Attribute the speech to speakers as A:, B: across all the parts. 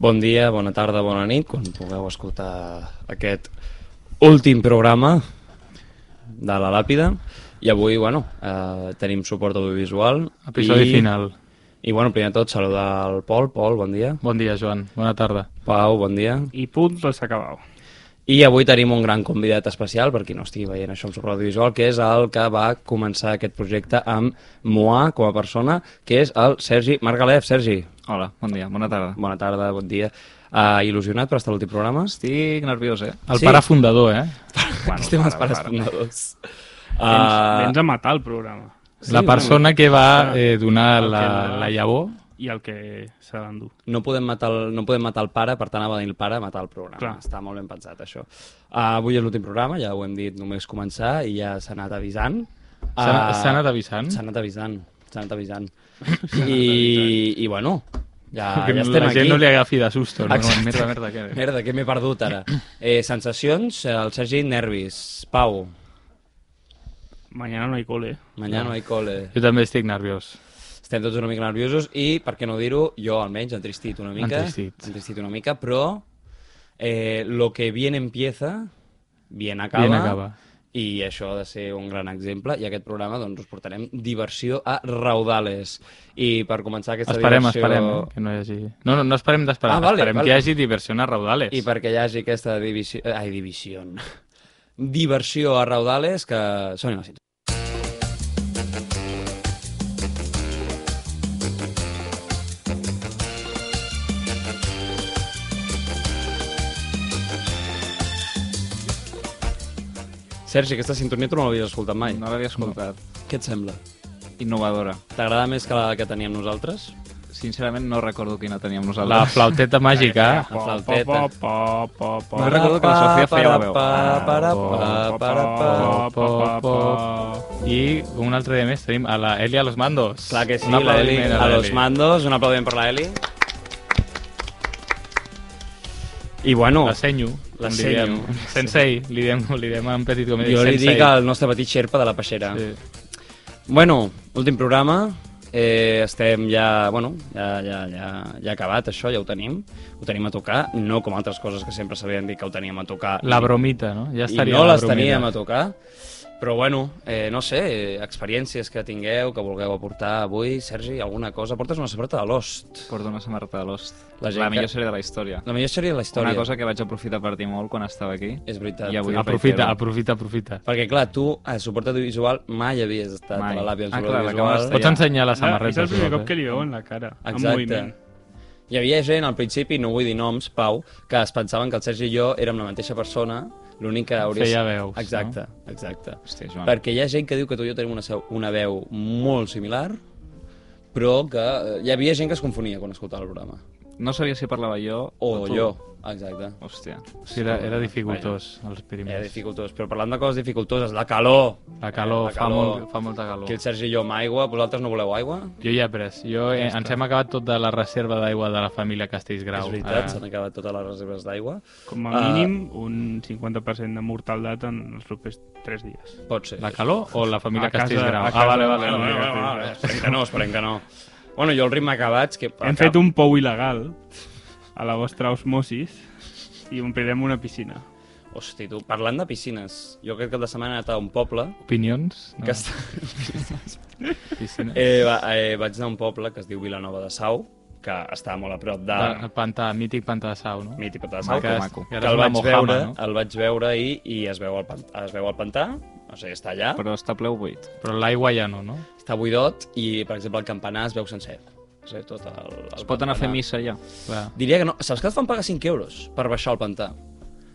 A: Bon dia, bona tarda, bona nit, quan pugueu escoltar aquest últim programa de La Làpida. I avui, bueno, eh, tenim suport audiovisual.
B: Episodi
A: i,
B: final.
A: I, bueno, primer de tot, saludar el Pol. Pol, bon dia.
B: Bon dia, Joan. Bona tarda.
A: Pau, bon dia.
C: i punto s'ha acabat.
A: I avui tenim un gran convidat especial, per qui no estigui veient això en suport audiovisual, que és el que va començar aquest projecte amb Moa com a persona, que és el Sergi Margalef. Sergi,
D: Hola, bon dia, bona tarda.
A: bona tarda, bon dia. Uh, il·lusionat per estar a l'últim programa?
D: Estic nerviós, eh?
B: El
A: Sí.
B: sí. pare fundador, eh?
A: Bueno, Estem els pares fundadors.
C: Vens,
A: Ah,
C: vens a matar el programa.
B: Sí, la persona que
D: Ah.
B: va eh, donar
C: El que
B: la,
C: no.
B: la llavor.
C: I el que se l'endú.
A: Uh, no, podem matar el, no podem matar el pare, per tant, ha de venir el pare a matar el programa.
C: Clar.
A: Està molt ben pensat, això. Uh, avui és l'últim programa, ja ho hem dit, només començar, i ja s'ha anat avisant.
B: S'ha-
A: Ah,
B: s'ha anat avisant?
A: S'ha anat avisant, s'ha anat avisant. I, I, bueno,
D: Ah,
A: ja,
B: que
A: ja estem
B: la
A: aquí.
B: gent no li agafi de susto. No?
A: Exacte.
B: Merda, merda, què?
A: Merda, què m'he perdut ara? Eh, sensacions, Eh, el Sergi, nervis. Pau,
C: Mañana no eh? hay cole.
A: mañana no hay cole.
B: Jo també estic nerviós.
A: Estem tots una mica nerviosos i, per què no dir-ho, jo almenys entristit una mica.
B: Entristit.
A: Entristit una mica, però eh, lo que bien empieza, bien acaba.
B: Bien acaba.
A: I això ha de ser un gran exemple. I aquest programa, doncs, us portarem diversió a raudales. I per començar aquesta
B: Esperem,
A: diversió...
B: esperem, eh? que no hi hagi... No, no, no esperem d'esperar,
A: Ah, vale,
B: esperem
A: vale.
B: que hi hagi diversió a raudales.
A: I perquè hi hagi aquesta divisió... Ai, divisió... Diversió a raudales que... Són les Sergi, aquesta sintonia tu no l'havies escoltat mai.
D: No l'havia escoltat. No.
A: Què et sembla?
D: Innovadora.
A: T'agrada més que la que teníem nosaltres?
D: Sincerament no recordo quina teníem
B: La
D: nosaltres.
B: flauteta màgica.
A: La flauteta.
C: Pa, pa, pa, pa,
D: No
C: pa.
D: recordo que la Sofia feia la veu. Ah,
A: Pa, pa, pa, pa, pa, pa,
C: Pa, pa, pa, pa.
B: I un altre dia més tenim a la Eli a los mandos.
A: Clar que sí,
B: Un
A: la Eli
B: aplaudiment
A: a
B: la
A: los
B: Eli.
A: mandos. Un aplaudiment per la Eli. I bueno,
B: La senyo.
A: La
B: com li
A: senyo.
B: diem. Sensei, li diem, li diem en petit com
A: jo li dic al nostre petit xerpa de la peixera.
B: Sí.
A: Bueno, últim programa. Eh, estem ja, bueno, ja, ja, ja, ja acabat això, ja ho tenim. Ho tenim a tocar, no com altres coses que sempre s'havien dit que ho teníem a tocar.
B: La bromita, no? Ja
A: I
B: estaria
A: no
B: la
A: les
B: bromita.
A: teníem a tocar. Però bueno, eh, no sé, eh, experiències que tingueu, que vulgueu aportar avui. Sergi, alguna cosa? Portes una sabreta de l'host.
D: Porto una samarreta de l'host.
A: La
D: La,
A: gent
D: la
A: que-
D: millor sèrie de la història.
A: La millor sèrie de la història.
D: Una cosa que vaig aprofitar per dir molt quan estava aquí.
A: És veritat.
D: I avui ho
B: Aprofita,
D: reitero.
B: aprofita, aprofita.
A: Perquè, clarlar, tu, a suport audiovisual, mai havies estat
D: Mai.
A: a la làbia del
D: Ah,
A: suport
D: clar, la
A: audiovisual.
D: càmera està
B: Pots
D: Ja.
B: ensenyar la
C: No, és
B: samarreta?
C: Ah, el primer
B: si vols,
C: cop que li veuen la cara, en
A: Exacte.
C: moviment.
A: Hi havia gent al principi, no vull dir noms, Pau, que es pensaven que el Sergi i jo érem la mateixa persona, l'únic que hauries...
B: Feia veus,
A: Exacte, no? exacte.
D: Hòstia, Joan.
A: Perquè hi ha gent que diu que tu i jo tenim una, seu, una veu molt similar, però que eh, hi havia gent que es confonia quan escoltava el programa.
D: No sabia si parlava jo
A: O,
D: o tu.
A: jo, exacte.
D: Hòstia.
B: eh? Sí, era, era dificultós, els primers.
A: Era dificultós, però parlant de coses dificultoses, la calor!
B: La calor,
A: Eh,
B: fa, molt, fa molta calor.
A: Que el Sergi i jo amb aigua, vosaltres no voleu aigua?
B: Jo ja he pres. Jo, eh, ens hem acabat tota la reserva d'aigua de la família Ah, Castellsgrau.
A: És veritat, s'han acabat totes les reserves d'aigua.
C: Com a
A: Ah.
C: mínim, un 50% de mortalitat en els propers 3 dies.
A: Pot ser.
B: La calor o la família
C: A casa-
B: Castellsgrau?
C: a
B: Ah,
C: casa-
B: vale, vale.
C: Bueno,
B: vale,
C: bueno,
B: vale,
C: bueno,
B: vale.
A: Esperem que no, esperem que no. Bueno, jo el ritme acabats... Que...
C: Hem fet un pou il·legal a la vostra osmosis i omplirem una piscina.
A: Hosti, tu, parlant de piscines, jo aquest cap de setmana he anat a un poble
B: Opinions?
A: que està...
B: Piscina.
A: eh, va, eh, vaig anar a un poble que es diu Vilanova de Sau, que està molt a prop de...
B: El pantà, mític pantà de sau, no?
A: ah. Mític Pantà de Sau,
D: Maco,
A: que,
D: maco.
A: que
B: Ara és
A: el eh?
B: una
A: vaig
B: Mojama,
A: veure,
B: no?
A: el vaig veure ahir i es veu al pantà, es veu al pantà, o sigui, està allà,
D: Però està ple o buit.
B: Però l'aigua ja no, no?
A: està buidot i, per exemple, el campanar es veu sencer. O sigui, tot el, el
D: Es pot anar a fer
A: campanar.
D: missa allà.
B: Clar.
A: Diria que no. Saps que et fan pagar 5 euros per baixar el pantà?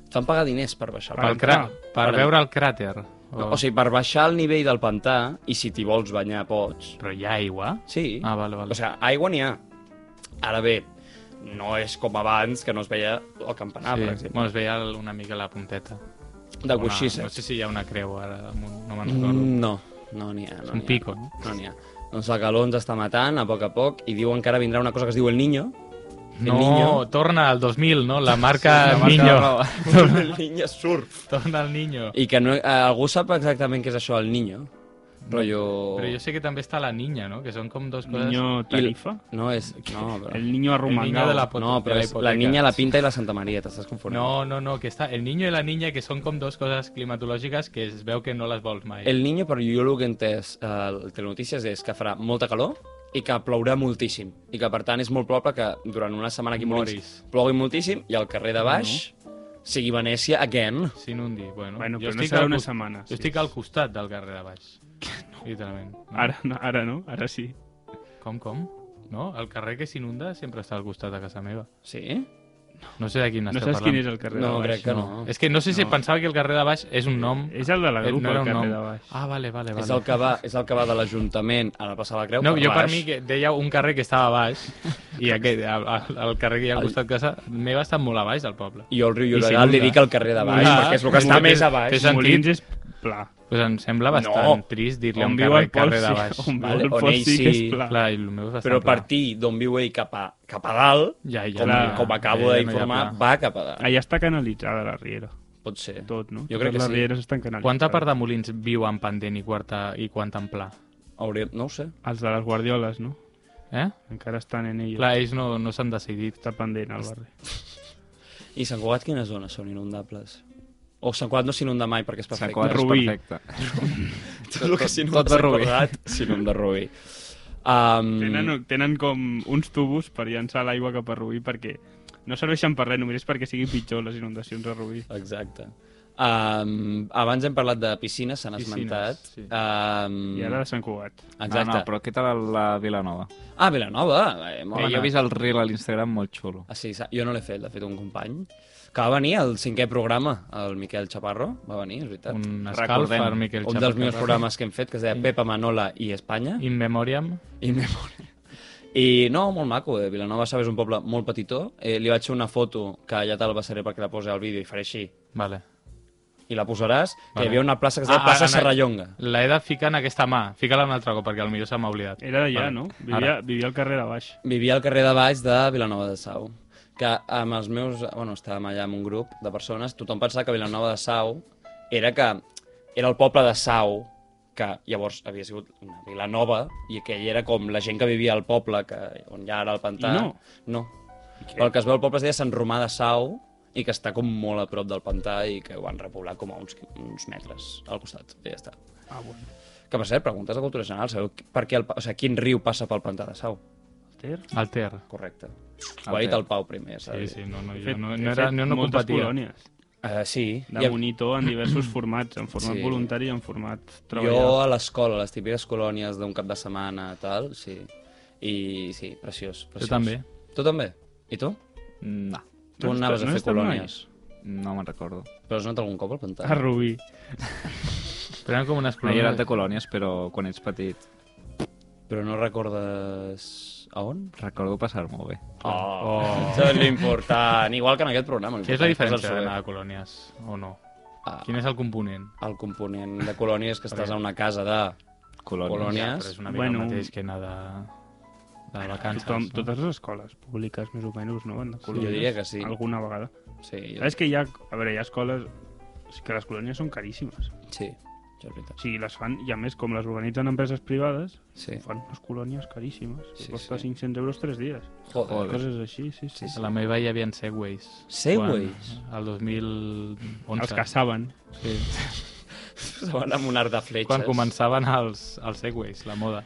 A: Et fan pagar diners per baixar el
B: Pel
C: Pel
A: pantà.
B: cra...
C: cra-
B: Per
A: per-
B: veure el cràter. O...
A: No, o sigui, per baixar el nivell del pantà, i si t'hi vols banyar pots,
B: Però hi ha aigua?
A: sí.
B: Ah, vale, vale.
A: O sigui, aigua n'hi ha. Ara bé, no és com abans, que no es veia el campanar, per exemple.
B: Bueno, es veia el- una mica la punteta.
A: Ah, de
B: Una-
A: coixissa.
B: No sé si hi ha una creu ara, damunt, no me'n recordo. Mm.
A: No, no n'hi ha. No
B: És un
A: n'hi ha.
B: pico, no?
A: No n'hi ha. Doncs la calor ens està matant a poc a poc i diuen que ara vindrà una cosa que es diu El Niño. El
B: No,
A: Niño.
B: torna al 2000, no? La marca sí, Niño.
A: El Niño surf.
B: Torna al Niño.
A: I que no, eh, algú sap exactament què és això, El Niño? Rollo...
B: Però jo sé que també està la niña, no? Que són com dos coses...
C: Niño Tarifa.
A: No, és... No, però...
C: El niño
B: El niño
C: arrumangado.
B: de la, pot-
A: No, però
B: de la
A: és la
B: hipoteca.
A: niña, la pinta i la Santa Maria, t'estàs confonent.
B: No, no, no, que està... El niño i la niña, que són com dos coses climatològiques que es veu que no les vols mai.
A: El niño, però jo el que he entès eh, al Telenotícies és que farà molta calor i que plourà moltíssim. I que, per tant, és molt probable que durant una setmana aquí a Molins
B: Moris.
A: plogui moltíssim i al carrer de baix sigui Venècia again.
B: S'inhundi, bueno.
C: Bueno,
B: jo
C: però no
B: estic
C: serà
B: al
C: una
B: cos-
C: setmana,
B: Jo
C: sí.
B: estic al costat del carrer de baix. No. Literalment. No?
C: Ara, no, ara no, ara sí.
B: Com, com? No? El carrer que s'inunda sempre està al costat de casa meva.
A: Sí?
B: No sé de quin
C: No
B: esteu
C: saps
B: parlant.
C: quin és el carrer
A: No,
C: de baix?
A: crec que no.
B: És que no sé si
C: No.
B: pensava que el carrer de baix és un nom...
C: És el de la
B: Eh,
C: grupa,
B: no era
C: el
B: un
C: carrer
B: nom.
C: de baix.
B: Ah, vale, vale, vale.
A: És el que va, és el que va de l'Ajuntament a la plaça de la Creu.
B: No,
A: per
B: jo per
A: baix.
B: mi que deia un carrer que estava a baix i aquest, el, el, el carrer que hi ha al costat de casa meva està molt a baix del poble.
A: I jo al riu
B: I
A: Llobregat li
B: s'inunda.
A: dic el carrer de baix,
B: Ah,
A: perquè és el que està
B: Molins
A: més a
B: és-
A: baix.
B: és sentit.
C: Molins és pla.
B: Pues em sembla bastant
A: No.
B: trist dir-li
C: On
B: un
C: viu
B: carrer,
C: el Pol
B: carrer de
C: sí,
B: baix.
C: on viu
A: Vale,
C: el
A: on
C: Pol
A: ell
C: sí que és
A: sí-
C: pla.
B: Clar, i el meu és bastant
A: Però
B: pla.
A: partir d'on viu ell cap a, cap a dalt,
B: Ja, ja,
A: com,
B: no hi ha-
A: com acabo
B: ja, ja no hi ha
A: d'informar,
B: pla.
A: va cap a dalt.
C: Allà està canalitzada la riera.
A: Pot ser.
C: Tot, no?
A: Jo crec
C: Totes
A: que
C: les
A: sí.
C: rieres estan canalitzades.
B: Quanta part de Molins viu en pendent i, quarta, i quanta en pla?
A: Hauria... No ho sé.
C: Els de les guardioles, no?
B: Eh?
C: Encara estan en ella.
B: Clar, ells no, no s'han decidit.
C: Està pendent al barri.
A: I Sant Cugat, quines zones són inundables? O Sant Cugat no s'inunda mai perquè és
D: Sant
A: perfecte.
D: Cugat és
C: Rubí.
D: perfecte.
A: Tot el que s'inunda
D: tot
A: a
D: de
A: Sant
D: Rubí.
A: Cugat s'inunda a Rubí.
B: Mm.
A: Um,
C: Tenen, tenen com uns tubos per llançar l'aigua cap a Rubí perquè no serveixen per res, només és perquè siguin pitjor les inundacions a Rubí.
A: Exacte. Um, abans hem parlat de piscines, s'han
B: Piscines,
A: esmentat.
B: sí.
A: Um,
B: Mm.
C: I ara de Sant Cugat.
A: Exacte.
D: Ah, No, no, però què tal la Vilanova?
A: Ah, Vilanova. Eh,
D: Home,
A: molt
D: jo he vist el reel a l'Instagram molt xulo.
A: Ah, sí, sa- jo no l'he fet, l'ha fet un company. Que va venir al cinquè programa, el Miquel Chaparro, va venir, és veritat. Un,
B: Un escalf
D: Recordem,
B: per Miquel
A: un
B: Chapa.
A: dels millors programes que hem fet, que es deia Pepa Manola i Espanya.
B: In Memoriam.
A: In memòria. I no, molt maco, eh? Vilanova, sabes, un poble molt petitó. Eh, li vaig fer una foto, que ja te la passaré perquè la posi al vídeo i faré així.
B: Vale.
A: I la posaràs, que
B: Vale.
A: hi havia una plaça que es deia ah, Plaça
B: ara,
A: ah, Serrallonga.
B: L'he de ficar en aquesta mà. Fica-la un altre cop, perquè potser se m'ha oblidat.
C: Era d'allà,
B: Vale.
C: no?
B: Ara.
C: Vivia, vivia al carrer de baix.
A: Vivia al carrer de baix de Vilanova de Sau. Que amb els meus... Bueno, estàvem allà amb un grup de persones, tothom pensava que Vilanova de Sau era que... Era el poble de Sau, que llavors havia sigut una vila nova, i aquella era com la gent que vivia al poble, que, on hi ha ara el pantà.
C: I no?
A: No. Però el que es veu al poble es deia Sant Romà de Sau, i que està com molt a prop del pantà i que ho han repoblat com a uns, uns metres al costat. I ja està.
C: Ah, bueno.
A: Que, per cert, preguntes de cultura general, sabeu per què el, pa- o sigui, quin riu passa pel pantà de Sau?
C: El Ter.
B: Al Ter.
A: Correcte.
D: El
A: Ho ha dit
D: Ter.
A: el Pau primer, s'ha
B: Sí,
A: de dir.
B: sí, no, no,
C: He
B: jo no,
C: he
B: no, era, no, no
C: moltes
B: competia.
C: colònies
A: Eh, sí.
C: de
A: Hi ha-
C: monitor en diversos formats, en format
A: Sí.
C: voluntari i en format
A: jo
C: treballador.
A: a l'escola, les típiques colònies d'un cap de setmana, tal, sí. I sí, preciós, preciós.
B: també.
A: Tu també? I tu?
D: No,
A: Tu
C: No has
A: anaves
C: estat-
A: a
C: no has
A: fer
C: estat
A: colònies.
D: no me'n recordo.
A: Però has anat algun cop al pantà?
C: A Rubí.
B: Però eren com unes
D: No he anat de
B: colònies.
D: colònies, però quan ets petit
A: Però no recordes... A on?
D: recordo passar-m'ho bé.
A: Oh, oh. això és l'important. Igual que en aquest programa.
B: Què és la
A: l'important
B: diferència
A: el
B: d'anar
A: saber.
B: a colònies o no?
A: Ah.
B: Quin és el component?
A: El component de colònies que estàs a una casa de...
D: Colònies.
A: Colònies.
B: Ja, però és una mica
C: Bueno.
B: el mateix que anar de, de vacances.
C: Tothom,
B: no?
C: Totes les escoles públiques, més o menys, no van de colònies?
A: diria que sí.
C: Alguna vegada.
A: Sí, jo...
C: És que hi ha, a veure, hi ha escoles és que les colònies són caríssimes.
A: sí, això és
C: O
A: veritat.
C: sigui, les fan, i a més, com les organitzen empreses privades,
A: Sí.
C: fan unes colònies caríssimes.
A: Sí,
C: Sí, costa
A: sí.
C: 500 euros 3 dies.
A: Joder.
D: Joder.
C: Coses així, sí, sí.
B: A la meva hi havia Segways.
A: Segways?
B: Quan, el 2011.
C: Els caçaven.
B: Sí.
A: Estaven amb un art de fletxes.
B: Quan començaven els, els Segways, la moda.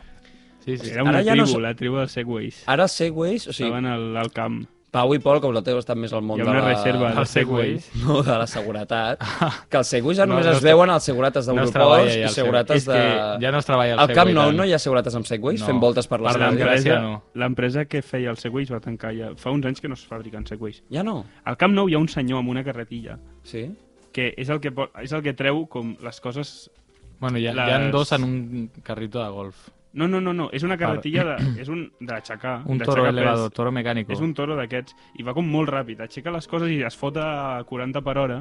B: Sí, sí.
C: Era una
A: Ara ja no Ah,
C: tribu,
A: sé-
C: la tribu dels Segways.
A: Ara els segways, o sigui,
C: Estaven al, al camp.
A: Pau i Pol, que vosaltres estan més al món
C: Hi ha
A: de
C: una
A: la... Ah,
C: reserva de
B: els Segways.
C: Segways.
A: No, de la seguretat. Que els següis ja
B: No,
A: només
B: no
A: es
B: es-
A: veuen als segurates
B: no es
A: d'aeroports
B: treballa ja
A: i
B: el
A: segurates de...
B: Segway. És que ja no es treballa el
A: Al Camp
B: Segway
A: Nou
B: tant.
A: no hi ha segurates amb següis
B: No.
A: fent voltes per les
B: Per
A: calles.
B: desgràcia,
C: L'empresa
B: no.
C: l'empresa que feia els Segways va tancar ja... Fa uns anys que no es fabriquen Segways.
A: Ja no?
C: Al Camp Nou hi ha un senyor amb una carretilla
A: Sí?
C: que és el que, po- és el que treu com les coses...
B: Bueno, hi ha, hi ha
C: Les-
B: dos en un carrito de golf.
C: No, no, no, no. És una carretilla de... és un... d'aixecar.
B: Un
C: d'aixecar
B: toro
C: pes.
B: elevado, toro mecànico.
C: És un toro d'aquests. I va com molt ràpid. Aixeca les coses i es fot a 40 per hora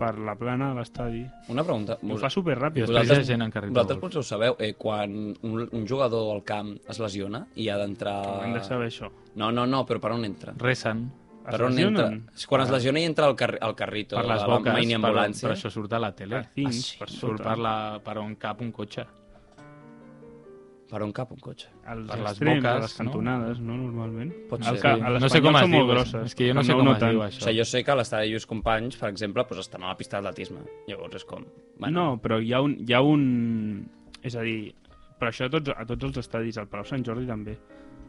C: per la plana a l'estadi.
A: Una pregunta.
C: I Ho
A: Vos-
C: fa
B: I
C: superràpid.
B: després hi ha gent en carrito de
A: vosaltres
B: golf.
A: potser ho sabeu, eh, quan un, un jugador al camp es lesiona i ha d'entrar...
C: Uh... Hem de saber això.
A: No, no, no, però per on entra?
B: Recen
C: Es
A: Per on entra?
C: lesionen?
A: És quan es lesiona i entra al, car al carrito,
B: Ah. per les
A: a la
B: boques,
A: mini
B: per,
A: ambulància.
B: per això surt a la tele.
C: Per fins,
A: Ah, sí?
C: per
B: Surt
C: sota.
B: per, la, per on cap un cotxe.
A: Per on cap un cotxe?
C: als
B: Per les
C: extrems, a
B: boques,
C: les
B: no?
C: cantonades, no, normalment?
A: Pot
C: Al
A: ser.
C: ca-
A: Sí.
C: a les
B: No sé com
C: espanyoles
B: es
C: són
B: diu,
C: molt grosses.
B: és que jo no
C: Al
B: sé
C: meu
B: com
C: no
B: es
C: tant.
B: diu eh.
A: O
B: això.
A: sigui, jo sé que l'estadi Lluís Companys, per exemple, doncs estan a la pista d'atletisme. Llavors és com...
C: No, però hi ha un... Hi ha un... És a dir, però això a tots, a tots els estadis, al Palau Sant Jordi també.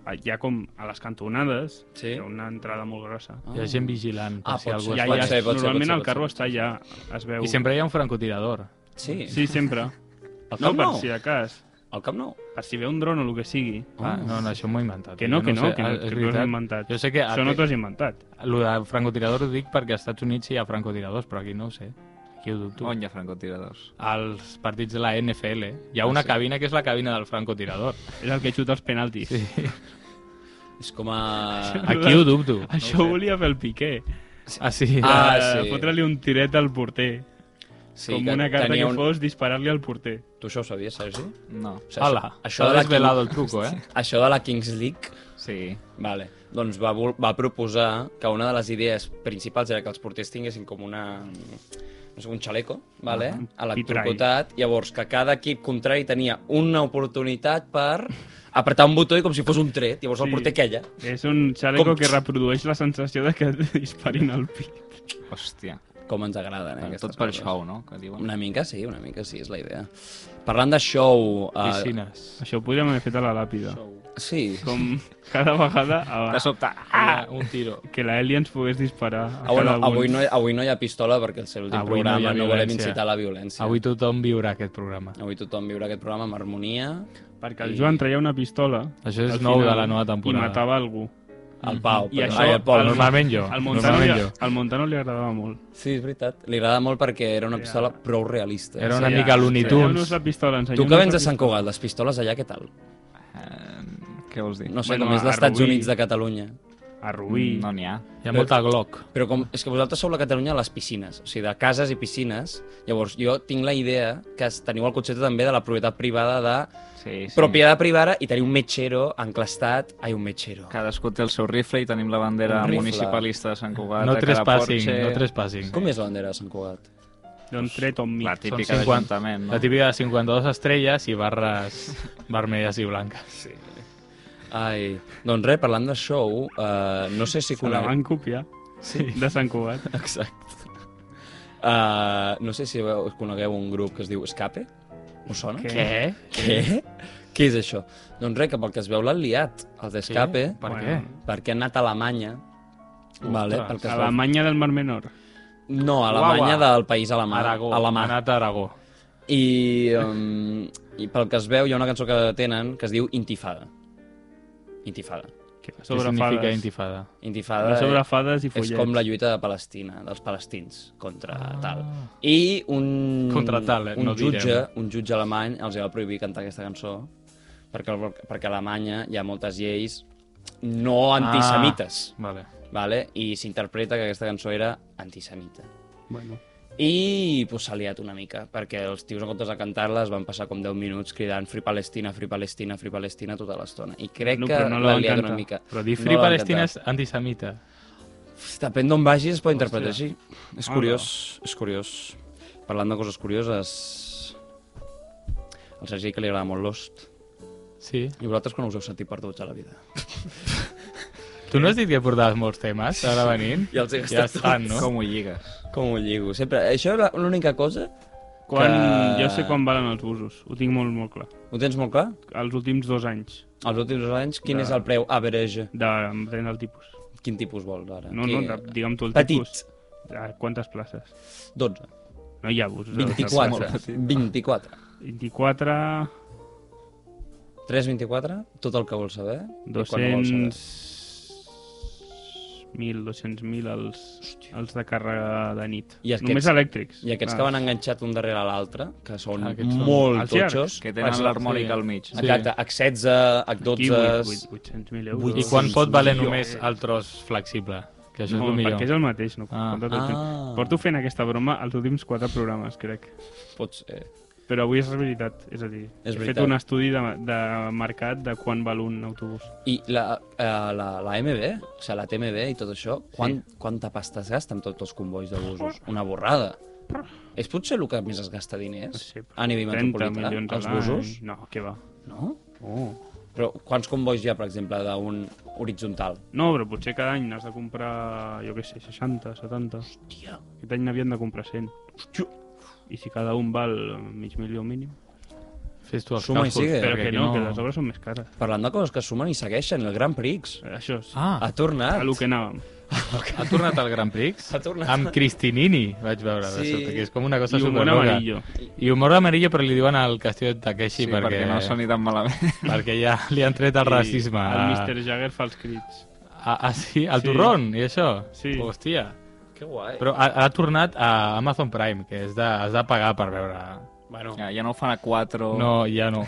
C: Ah, Hi ha com a les cantonades,
A: Sí.
C: hi ha una entrada molt grossa.
A: Ah.
B: Hi ha gent vigilant, per
A: Ah,
B: si
A: pot
B: algú
A: ser,
B: es
C: Ja,
A: pot
C: ja,
B: falla.
A: ser, pot ser,
C: normalment
A: pot
C: el
A: ser,
C: carro
A: pot ser.
C: està allà, es veu.
B: I sempre hi ha un francotirador.
A: Sí.
C: Sí, sempre.
A: El
C: No,
A: Camp
C: per
A: Nou?
C: si de cas.
A: El Camp Nou?
C: Per si ve un dron o el que sigui.
B: Ah, no, no, això m'ho he inventat.
C: Que no,
B: Jo
C: que
B: ho
C: no,
B: sé.
C: que
B: Ah,
C: no,
B: és
C: que tu
B: veritat.
C: has inventat.
B: Jo sé que
C: Això no t'ho has inventat.
B: El de francotirador ho dic perquè als Estats Units hi ha francotiradors, però aquí no ho sé. Aquí ho dubto.
D: On hi ha francotiradors?
B: Als partits de la NFL hi ha una
D: sí.
B: cabina que és la cabina del francotirador.
C: És el que xuta els penaltis.
B: Sí.
A: És com a...
B: Aquí ho dubto.
C: Això
B: No
C: ho
B: ho sé.
C: volia fer el Piqué.
B: Ah, sí.
A: Ah,
C: Eh,
A: sí.
C: Fotre-li un tiret al porter.
A: Sí,
C: Sí, com
A: que
C: una carta
A: tenia
C: que fos disparar-li al porter.
A: Tu això ho sabies, Sergi? O
D: No.
A: sigui,
B: Hola,
A: Això, això,
B: ha
A: de la King...
B: desvelado el truco, eh?
A: això de la Kings League
D: Sí.
A: Vale. Doncs va, vol- va proposar que una de les idees principals era que els porters tinguessin com una no sé, un xaleco, vale?
C: Ah, un
A: electrocutat, llavors que cada equip contrari tenia una oportunitat per apretar un botó i com si fos un tret, llavors
C: Sí.
A: el porter queia.
C: És un xaleco
A: Com-
C: que reprodueix la sensació de que et disparin al pit.
D: Hòstia.
A: Com ens agraden, eh?
D: Bueno,
A: aquestes
D: tot per
A: coses.
D: show, no? Que diuen.
A: Una mica sí, una mica sí, és la idea. Parlant de show... eh,
B: Piscines.
C: Això ho podríem haver fet a la làpida.
A: sí,
C: Com cada vegada a...
D: De sobte. eh,
B: Ah! Un tiro.
C: que la Eli ens pogués disparar. a
A: Ah, bueno,
C: cada un.
A: avui, no, avui no hi ha pistola perquè el seu últim
B: Avui no hi ha
A: programa no, volem
B: violència.
A: incitar a la violència.
B: Avui tothom viurà aquest programa.
A: Avui tothom viurà aquest programa amb harmonia.
C: Perquè el Joan traia una pistola
B: Això és
C: al
B: nou
C: final
B: de la nova temporada.
C: i matava algú.
A: El Pau.
C: I
A: però-
C: això-
A: Ai, el Pau,
C: el-
A: normal.
B: Normalment jo.
C: Al Montano,
B: Normalment
C: li,
B: jo.
C: al Montano li agradava molt.
A: Sí, és veritat. Li agrada molt perquè era una
C: Era-
A: pistola prou realista.
B: Era una
A: Sí.
B: mica Looney
C: Ensenyeu-nos
B: Tunes.
C: la pistola, ensenyeu
A: Tu que vens de Sant Cugat, les pistoles allà què tal?
D: Eh, què vols dir?
A: No sé, bueno,
C: Bueno,
A: com és
C: a
A: dels Estats
C: Rubí.
A: Units de Catalunya.
C: A Rubí.
B: Mm.
D: No n'hi ha.
B: Hi ha molta Glock.
A: Però com, és que vosaltres sou la Catalunya de les piscines, o sigui, de cases i piscines. Llavors, jo tinc la idea que es- teniu el concepte també de la propietat privada de
D: Sí, sí.
A: propietat privada i teniu un metxero enclastat... Ai, un metxero.
D: Cadascú té el seu rifle i tenim la bandera
A: Un rifle.
D: municipalista de Sant Cugat.
B: No
D: de cada
B: trespassing,
D: porxe.
B: no trespassing.
A: Com és la bandera de Sant Cugat?
C: Doncs tret on mi.
D: La típica
B: Són 50.
D: d'Ajuntament, no?
B: La típica de 52 estrelles i barres vermelles i blanques.
A: Ai, doncs res, parlant de show, eh, no sé si
C: Se la
A: conec...
C: van copiar. Sí. De Sant Cugat.
A: Exacte. Uh, no sé si veu, conegueu un grup que es diu Escape. Us sona?
C: Què?
B: Què?
A: Què? Què és això? Doncs res, que pel que es veu l'han liat, els d'Escape,
B: Per
C: Bueno.
B: què?
A: perquè han anat a Alemanya.
B: Ostres,
A: vale, pel que es veu...
C: Alemanya del Mar Menor.
A: No, a Alemanya
B: Uau, uau.
A: del país alemà.
B: Aragó.
A: alemà.
B: Ha anat a Aragó.
A: I, um, I pel que es veu hi ha una cançó que tenen que es diu Intifada. Intifada.
C: Que va
B: Què
C: sobre
B: significa
C: fades.
B: intifada?
A: Intifada
C: Va sobre fades i
A: és
C: follets.
A: com la lluita de Palestina, dels palestins, contra tal. I un,
B: Ah. Contra tal, eh?
A: un,
B: No direm.
A: jutge, un jutge alemany els va prohibir cantar aquesta cançó perquè, el- perquè a Alemanya hi ha moltes lleis
B: Ah.
A: no antisemites,
B: Vale.
A: vale? i s'interpreta que aquesta cançó era antisemita.
C: Bueno,
A: I pues, s'ha liat una mica, perquè els tios en comptes de cantar-la es van passar com 10 minuts cridant Free Palestina, Free Palestina, Free Palestina tota l'estona. I crec
C: No,
A: que
C: però no la
A: l'ha
C: van
A: liat
C: cantar.
A: una mica.
B: Però dir
A: No
B: Free
A: la van
B: Palestina
A: cantar.
B: és antisemita.
A: Depèn d'on vagis es pot interpretar així.
B: Hòstia.
A: És
C: Ah,
A: curiós, és curiós. Parlant de coses curioses... Al Sergi que li agrada molt Lost.
B: Sí.
A: I vosaltres quan us heu sentit perduts a la vida?
B: Tu no has dit que portaves molts temes ara venint?
A: Ja els he
B: Ja
A: gastat
B: estan, no?
D: Com ho lligues?
A: Com ho lligo? Sempre... Això era l'única cosa?
C: quan...
A: Que-
C: jo sé quan valen els busos, ho tinc molt, molt clar.
A: Ho tens molt clar?
C: Els últims dos anys
A: Els últims dos anys, quin
C: De-
A: és el preu average?
C: de depèn del tipus.
A: Quin tipus vols ara?
C: No,
A: Qui-
C: no, de- digue'm tu el
A: Petit.
C: tipus. A quantes places?
A: 12.
C: No hi ha busos. a 12
A: 24.
C: places.
A: 24.
C: 24,
A: 324, tot el que vols saber. i quan ho vols saber.
C: 200... 1.000, 200.000 els, els de càrrega de nit.
A: I aquests-
C: Només elèctrics. Ah,
A: I aquests que van enganxat un darrere l'altre, que són
B: Ah, Aquests són-
A: molt
C: Els llargs.
A: totxos.
D: Que tenen
A: Exacte.
D: l'harmònica
B: sí.
D: al mig.
B: Sí.
A: Exacte, H16,
C: Aquí,
A: H12...
C: 8- 800.000
A: Vuit-
C: euros.
B: I quan pot valer
A: Jo-
B: només el tros flexible? Que això és
C: no,
B: el millor.
C: perquè és el mateix. No,
B: Ah.
C: ah.
A: Ah.
C: Porto fent aquesta broma els últims quatre programes, crec.
A: Pot ser.
C: Però avui és veritat, és a dir,
A: És
C: he
A: veritat.
C: fet un estudi de, de mercat de quan val un autobús.
A: I la, eh, la, la MB, o sigui, la TMB i tot això, quant, quanta pasta es gasta amb tots els convois de busos? Una borrada. És potser el que més es gasta diners
C: No sé, però
A: a nivell
C: 30
A: metropolità,
C: milions a
A: els
C: l'any.
A: busos?
C: No, què va.
A: No?
C: Oh.
A: Però quants convois hi ha, per exemple, d'un horitzontal?
C: No, però potser cada any n'has de comprar, jo què sé, 60, 70. Hòstia. Aquest any n'havien de comprar 100. Hòstia. I si cada un val mig milió mínim.
B: Fes tu els
A: Suma i
B: càlculs,
A: sigue. Eh,
C: però
B: perquè
C: que
B: aquí
C: no, no, que les obres són més cares.
A: Parlant de coses que sumen i segueixen, el Gran Prix
C: Eh, Això és ah.
B: Ah,
A: ha tornat.
C: a lo que anàvem.
B: ha tornat al Gran Prix?
A: Ha tornat.
B: Amb Cristinini, vaig veure, de
A: Sí.
B: sobte, que és com una cosa
C: I un bon
B: superloca.
C: amarillo.
B: I humor amarillo, però li diuen al Castillo de Takeshi
D: Sí, perquè... perquè no soni tan malament.
B: perquè ja li han tret el racisme.
C: El
B: a-
C: Mr. Jagger fa els crits.
B: Ah, ah, sí? El
C: Sí.
B: torrón i això?
C: Sí.
B: Hòstia.
A: Que guai.
B: Però ha, ha tornat a Amazon Prime, que has de, has de pagar per veure...
A: Bueno,
D: Ja, ja no ho fan a 4...
B: No, ja no.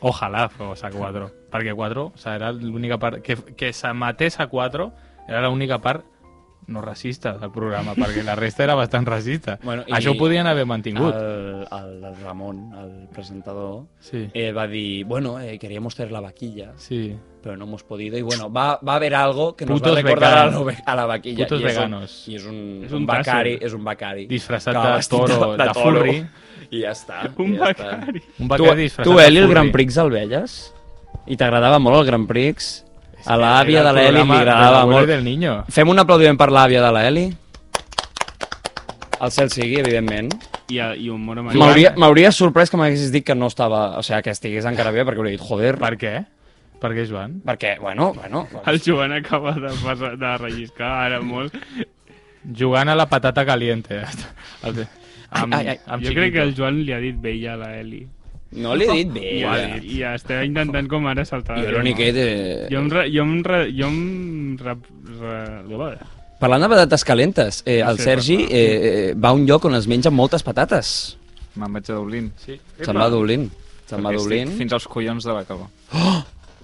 B: Ojalà fos a 4. Perquè 4 o sigui, era l'única part... Que, que s'emetés a 4 era l'única part no racista del programa, perquè la resta era bastant racista.
A: Bueno, i-
B: Això ho podien haver mantingut.
A: el, el, el Ramon, el presentador,
B: Sí,
A: eh, va dir, bueno, eh, queríamos tener la vaquilla,
B: sí.
A: pero no hemos podido. Y bueno, va, va a haber algo que nos
B: Putos
A: va a recordar a,
B: veganos.
A: la ve- a la vaquilla.
B: Putos
A: y es un-
B: veganos.
A: y es un,
C: És
A: un,
C: un
A: becari,
C: taser.
A: és un becari.
B: Disfressat
A: que va
B: de
A: vestit
B: toro, de furri.
A: I ja està.
C: Un
A: i ja està.
C: becari.
B: Un
A: Tu,
B: becari disfressat
A: tu
B: de
A: Eli, el
B: furri.
A: Gran Prix el veies? I t'agradava molt el Gran Prix? A l'àvia
B: Era
A: de
B: el
A: l'Eli li
B: programa de
A: agradava
B: l'abuelo
A: molt.
B: Del niño.
A: Fem un aplaudiment per l'àvia de l'Eli. El cel sigui, evidentment.
C: I, a, i humor amarillo.
A: M'hauria m'hauria sorprès que m'haguessis dit que no estava... O sigui, que estigués encara bé, perquè hauria dit, joder,
B: Per què? Per què, Joan?
A: perquè, bueno, bueno...
C: El Joan acaba de, passar, de relliscar ara molt.
B: Jugant a la patata caliente. El- Amb,
A: Ai, ai,
B: amb
C: jo crec que el Joan li ha dit vella a la Eli.
A: No l'he dit bé.
C: I,
A: Ja.
C: I està intentant com ara saltar.
A: Jo
C: la
A: l'únic que...
C: tema.
A: he De...
C: Jo em... Re, jo em, re, jo em re, re,
A: Parlant de patates calentes, eh,
C: No
A: el
C: sé,
A: Sergi
C: parla.
A: eh, eh, va a un lloc on es mengen moltes patates.
D: Me'n vaig a Dublín.
B: Sí.
A: Se'n va a Dublín. Se'n va a
D: Perquè estic
A: Dublín.
D: Fins als collons de la calor.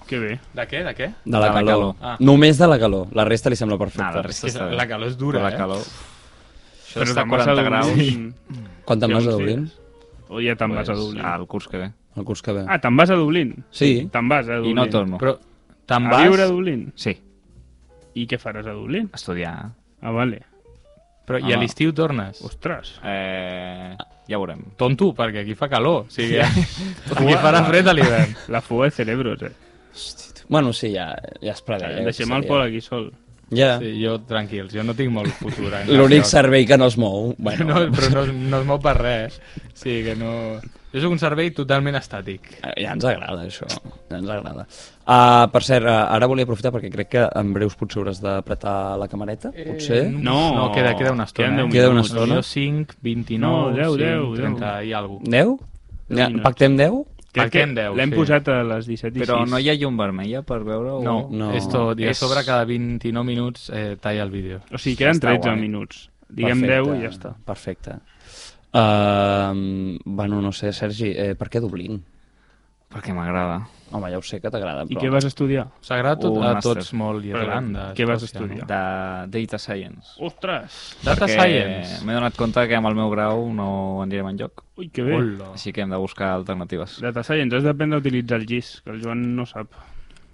C: que bé.
B: De què, de què?
A: De la
D: de la
A: calor.
D: calor.
B: Ah.
A: Només de la calor. La resta li sembla perfecta.
D: Nah, la resta
B: És que
D: està bé.
B: la calor és dura,
D: Però
B: eh?
D: La calor... Això
C: Però
D: està a
C: te'n vas
D: 40
C: a
D: graus.
C: Dublín.
A: Quan te'n
C: Ja
A: vas
C: uns
A: a Dublín?
C: dies. O ja te'n vas a Dublín.
D: Al curs que ve.
A: El curs que ve.
C: Ah, te'n vas a Dublín?
A: Sí.
C: Te'n vas a Dublín.
D: I no torno.
B: Però te'n
C: A
B: vas...
C: viure a Dublín?
D: Sí,
C: I què faràs a Dublín?
D: estudiar.
C: Ah, vale.
B: Però, I a
D: Home.
B: l'estiu tornes.
C: Ostres.
D: Eh, ja veurem.
B: Tonto, perquè aquí fa calor. O sigui, aquí farà fred a l'hivern.
C: La fuga de cerebros, eh?
A: Bueno, sí, ja, ja es preveia. que
C: Deixem el
A: seria.
C: Pol aquí sol.
A: Ja.
B: Sí, jo, tranquils, jo no tinc molt futur. en
A: L'únic
B: cap lloc.
A: servei que no es mou. Bueno,
B: No, però no, no es mou per res. O sigui que no... Jo soc un servei totalment estàtic.
A: eh, Ja ens agrada, això. Ja ens agrada. Uh, per cert, uh, ara volia aprofitar perquè crec que en breus potser hauràs d'apretar la camareta, potser.
C: No.
B: Eh, no queda, queda una estona.
C: Queden deu
B: eh?
A: Queda una
C: minuts.
A: estona.
B: Jo 5, 29,
C: No, deu,
B: 5,
C: deu,
B: 30 i alguna
A: 10? Ja,
C: minuts.
A: pactem 10?
C: Crec que
B: Marquem deu,
C: L'hem
B: sí.
C: posat a les 17 i
D: Però
C: 6.
D: no hi ha llum vermella per veure-ho?
B: No,
A: No.
B: no. És tot, i a
D: És-
B: sobre cada 29 minuts eh, talla el vídeo.
C: O sigui, queden
D: Està
C: 13
D: guai.
C: minuts. Diguem
A: Perfecte,
C: 10 i ja està.
A: Perfecte. Uh, bueno, no sé, Sergi, eh, per què Dublín?
D: Perquè m'agrada.
A: Home, ja ho sé que t'agrada,
C: I
A: però...
C: què vas estudiar?
B: S'agrada tot,
D: Un
B: a
D: màster.
B: tots molt Irlanda.
C: què vas
B: Escòcia,
C: estudiar?
D: De Data Science.
C: Ostres!
B: Data
D: Perquè
B: Science.
D: M'he donat compte que amb el meu grau no anirem enlloc.
C: Ui, que bé.
B: Hola.
D: Així que hem de buscar alternatives.
C: Data Science, has d'aprendre a utilitzar el GIS, que el Joan no sap.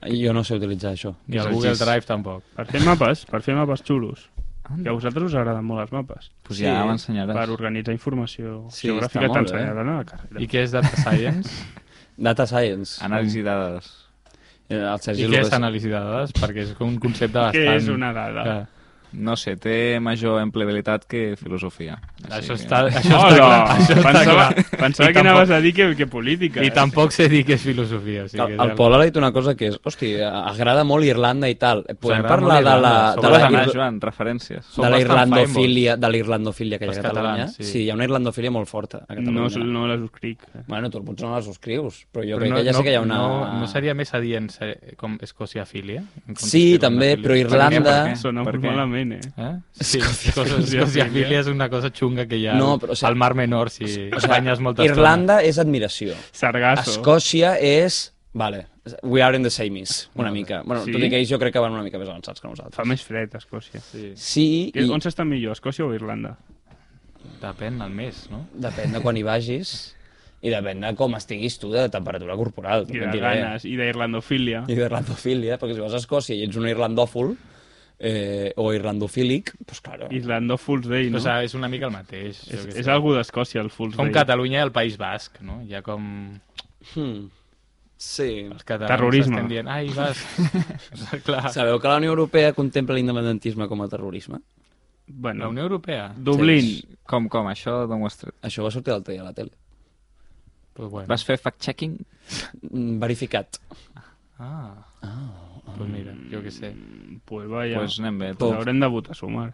A: Jo no sé utilitzar això.
B: Ni
D: És
B: el
D: el
B: Google
D: gis.
B: Drive tampoc.
C: Per fer mapes, per fer mapes xulos. Que a
D: Anda,
C: vosaltres us agraden molt els mapes.
D: Pues ja
A: Sí.
D: m'ensenyaràs.
C: Per organitzar informació
A: Sí,
C: geogràfica
A: està molt bé.
C: t'ensenyaran a la carrera.
B: I què és Data Science?
A: Data Science.
D: Anàlisi de dades.
A: Eh, El Sergi
B: I què és
A: López-
B: anàlisi de dades? Perquè és un concepte
C: Què
B: bastant...
C: és una dada?
B: Que...
D: No sé, té major empleabilitat que filosofia.
B: Això
D: que-
B: està, això està
C: Hola!
B: clar. Això està
C: Oh, Pensava,
B: clar.
C: pensava
B: I
C: que
B: tampoc-
C: anaves a dir que, que política.
B: I
C: eh?
B: tampoc sé dir què és filosofia. O sigui,
A: El,
B: que és
A: el Pol ha dit una cosa que és, hosti, agrada molt Irlanda i tal. Podem
B: agrada
A: parlar
B: molt
A: de la,
B: Irlanda,
A: de
D: T'has
A: la,
D: d'anar,
A: ir-
D: Joan, referències.
B: Som
A: de la
B: bastant
A: irlandofília, de la irlandofília que hi ha a
B: Els
A: Catalunya.
B: catalans,
A: sí.
B: sí.
A: hi ha una irlandofília molt forta a Catalunya.
C: No, no les escric. eh?
A: Bueno, tu potser no la subscrius, però jo crec que ja sé que hi ha una...
B: No, no seria més adient ser, com escociafília? En comptes
A: Sí,
B: que
A: també,
B: irlandofília?
A: però Irlanda...
D: Per què?
C: Sona
D: Per
C: molt
D: què?
C: malament, eh?
B: Eh? Sí, escociafília és una cosa xunga que hi ha
A: No, però, o sigui,
B: al Mar Menor, si
A: O sigui,
B: banyes molta
A: Irlanda és admiració.
C: Sargasso.
A: Escòcia és... Vale, we are in the same is, una mica. Bueno,
C: Sí?
A: tot i que ells jo crec que van una mica més avançats que nosaltres.
C: Fa més fred, a Escòcia.
B: estona. Sí.
A: Sí,
C: I...
A: i
C: On s'està millor, Escòcia o Irlanda?
B: Depèn del mes, no?
A: depèn de quan hi vagis i depèn de com estiguis tu de temperatura corporal.
C: I
A: també et
C: de
A: diré.
C: ganes, i d'irlandofília.
A: I d'irlandofília, perquè si vas a Escòcia i ets un irlandòfol eh, o irlandofílic, doncs claro.
C: Irlando Fool's Day,
B: no?
C: no?
B: O sigui, és una mica el mateix. jo
C: és,
B: què
C: és
B: sé.
C: algú d'Escòcia, el Fool's
B: Com
C: Day.
B: Catalunya i el País Basc, no? Hi ha com...
A: Hmm. Sí.
B: Els catalans
C: Terrorisme.
B: estem dient, ai, vas... Clar,
A: Sabeu que la Unió Europea contempla l'independentisme com a terrorisme?
B: la
C: Bueno,
B: Unió Europea.
C: Dublín.
D: Com, com? Això d'on ho has tret?
A: Això va sortir l'altre dia a la tele.
B: Pues bueno.
D: Vas fer fact-checking?
A: Mm, Verificat.
B: Ah. Pues mira, jo què sé.
C: Pues vaya.
D: Doncs pues anem bé.
A: Pum.
C: Haurem de votar a sumar.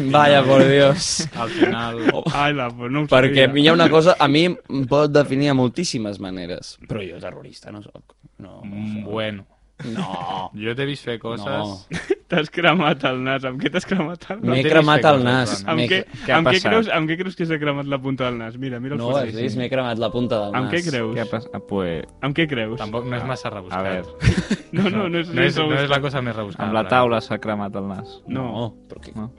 A: Vaya, por Dios.
B: Al final...
C: Ai, la, pues no ho
A: Perquè a mi hi
C: sabia.
A: ha una cosa... A mi em pot definir de moltíssimes maneres. Però jo terrorista no soc. No,
B: Mm,
A: no.
B: Bueno,
A: soc. no.
B: jo t'he vist fer coses...
A: No.
C: T'has cremat el nas. Amb què t'has cremat el nas?
A: M'he
B: tenis
A: cremat el
B: fer coses,
A: nas.
B: Joan.
C: eh, Amb,
A: m'he
C: què,
A: cre-
D: Què ha
C: amb, què
D: passat?
C: creus, amb què creus que s'ha cremat la punta del nas? Mira, mira el
A: No ho has
C: fotíssim.
A: vist? M'he cremat la punta del nas.
C: Amb què creus?
D: Què ha passat? Ah, pues,
C: Amb què creus?
B: Tampoc no és massa rebuscat.
D: a veure,
C: No, no, no és,
B: no, és,
C: res
B: no és la
C: rebuscat.
B: cosa més rebuscada.
D: amb la taula s'ha cremat el nas.
C: No.
A: No, però què?
D: No.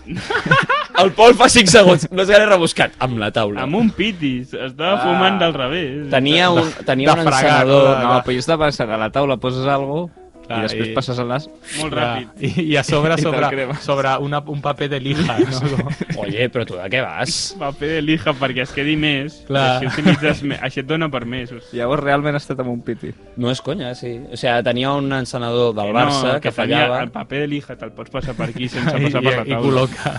A: El Pol fa 5 segons, no és gaire rebuscat, amb la taula.
C: Amb un pitis. Estava
A: Ah.
C: fumant del revés.
A: Tenia un, tenia
B: de
A: un
B: fregar,
A: encenedor...
D: No, però jo estava pensant, a la taula poses algo
B: Oh, Clar,
D: i després
B: i-
D: passes el nas.
C: Molt
B: Clar.
C: ràpid.
B: I, i a sobre,
D: I te'l
B: sobre,
D: cremes.
B: sobre una, un paper de lija. No?
A: Oye, però tu de què vas?
C: paper de lija perquè es quedi més,
B: Clar.
C: així, utilitzes me... així et dona per més. O sigui,
D: Llavors realment ha estat amb un piti.
A: No és conya, sí. O sigui, tenia un encenedor del Barça que,
C: tenia
A: fallava.
C: El paper de lija te'l pots passar per aquí sense
B: I,
C: passar per la
B: i, i
C: taula.
B: col·loca.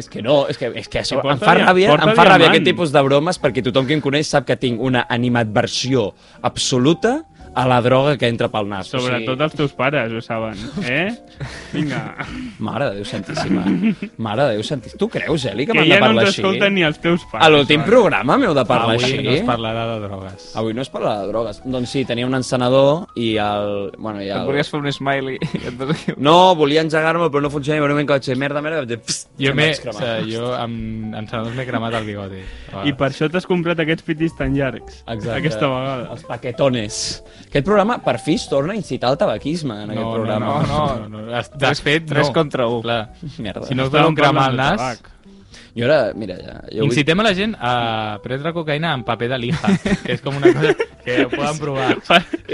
A: És que no, és que, és que això,
C: I porta
A: em fa,
C: dia-
A: ràbia,
C: porta
A: em fa ràbia
C: diamant.
A: aquest tipus de bromes perquè tothom que em coneix sap que tinc una animadversió absoluta a la droga que entra pel nas.
C: Sobretot els teus pares ho saben, eh? Vinga.
A: Mare de Déu Santíssima. Mare de Déu Santíssima. Tu creus, Eli, que,
C: Que
A: m'han
C: ja
A: de
C: no
A: parlar
C: ens
A: així?
C: escolten ni els teus pares.
A: A l'últim
C: va.
A: programa m'heu de parlar
B: eh? Avui
A: així?
B: no es parlarà de drogues.
A: Avui no es parla de drogues. Doncs sí, tenia un encenedor i el... Bueno, i
D: Et
A: el...
D: volies fer un smiley i et vas dir...
A: No, volia engegar-me, però no funcionava. I en un moment que vaig dir, merda, merda, vaig dir... "Psst",
B: Jo,
A: em
B: m'he...
A: vaig
B: o
A: cremar.
B: sigui, jo amb encenedors m'he cremat el bigoti.
C: I per això t'has comprat aquests pitis tan llargs.
A: Exacte.
C: Aquesta vegada.
A: Els paquetones. Aquest programa, per fi, es torna a incitar el tabaquisme en
B: no,
A: aquest
B: no,
A: programa.
B: no, no, no, no. De fet, no.
D: Tres contra un.
B: Clar.
A: Merda.
B: Si no us
C: Estàvem
B: veuen cremar
C: parlant
B: el
C: de
B: nas,
C: tabac.
A: Jo ara, mira, ja... Jo vull...
B: Incitem a la gent a prendre cocaïna en paper de lija, que és com una cosa que ho poden provar.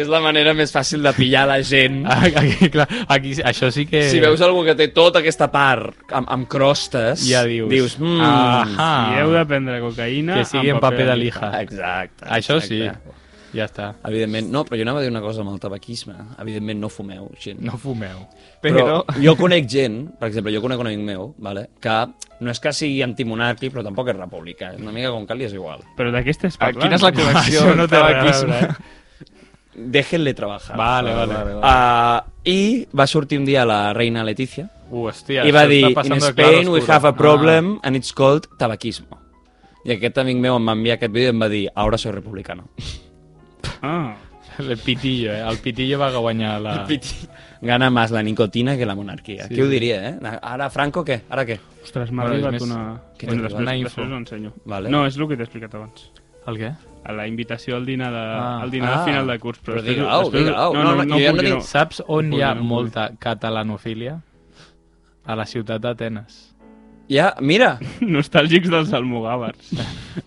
A: És la manera més fàcil de pillar la gent.
B: Ah, Aquí, clar, aquí, això sí que...
A: Si veus algú que té tota aquesta part amb, amb crostes,
B: Ja dius.
A: dius mm,
B: Ahà.
C: I heu de prendre cocaïna
B: ah. Que sigui en paper de lija.
A: Exacte.
B: Això sí.
A: exacte.
B: Ja està.
A: Evidentment, no, però jo anava a dir una cosa amb el tabaquisme. Evidentment, no fumeu, gent.
B: No fumeu.
A: Però jo conec gent, per exemple, jo conec un amic meu, vale, que no és que sigui antimonarqui, però tampoc és republicà. És una mica com que li és igual.
C: Però de què estàs
D: Ah,
C: parlant?
D: Quina és la connexió?
B: Això no té res a
D: Tabaquisme.
B: veure,
A: Déjenle trabajar.
B: Vale, vale.
D: vale, vale.
A: Uh, I va sortir un dia la reina Letícia
B: Uh, hòstia,
A: i va
B: això
A: dir,
B: està passant
A: in
B: de clar Ah. a
A: Spain we
B: oscuro."
A: have a problem and it's called tabaquismo. I aquest amic meu em va enviar aquest vídeo i em va dir, ahora soy republicano.
C: Ah,
B: Ah, el pitillo, eh? El pitillo va guanyar la...
A: Gana más la nicotina que la monarquía.
B: Sí,
A: Sí, Qui ho
B: sí.
A: diria, eh? Ara Franco, què? Ara què?
C: ostres, m'ha
B: Bueno, és
C: arribat
B: més-
C: una...
A: que
C: Bueno,
A: t'ha
C: després,
B: arribat? Una info.
C: després us ensenyo.
A: Vale.
C: No, és el que t'he explicat abans.
B: El què?
C: A la invitació al dinar, de,
B: Ah.
C: al dinar
A: Ah.
C: ah, final de curs. Però,
A: Però
C: després-
A: digue-ho,
C: després-
A: digue-ho.
C: No, no, no, no,
A: jo ja no
C: puc,
A: tinc-
C: no.
B: Saps on hi ha
C: Podríem-
B: molta catalanofília? A la ciutat d'Atenes.
A: Ja, mira,
C: Nostàlgics dels almogàvers.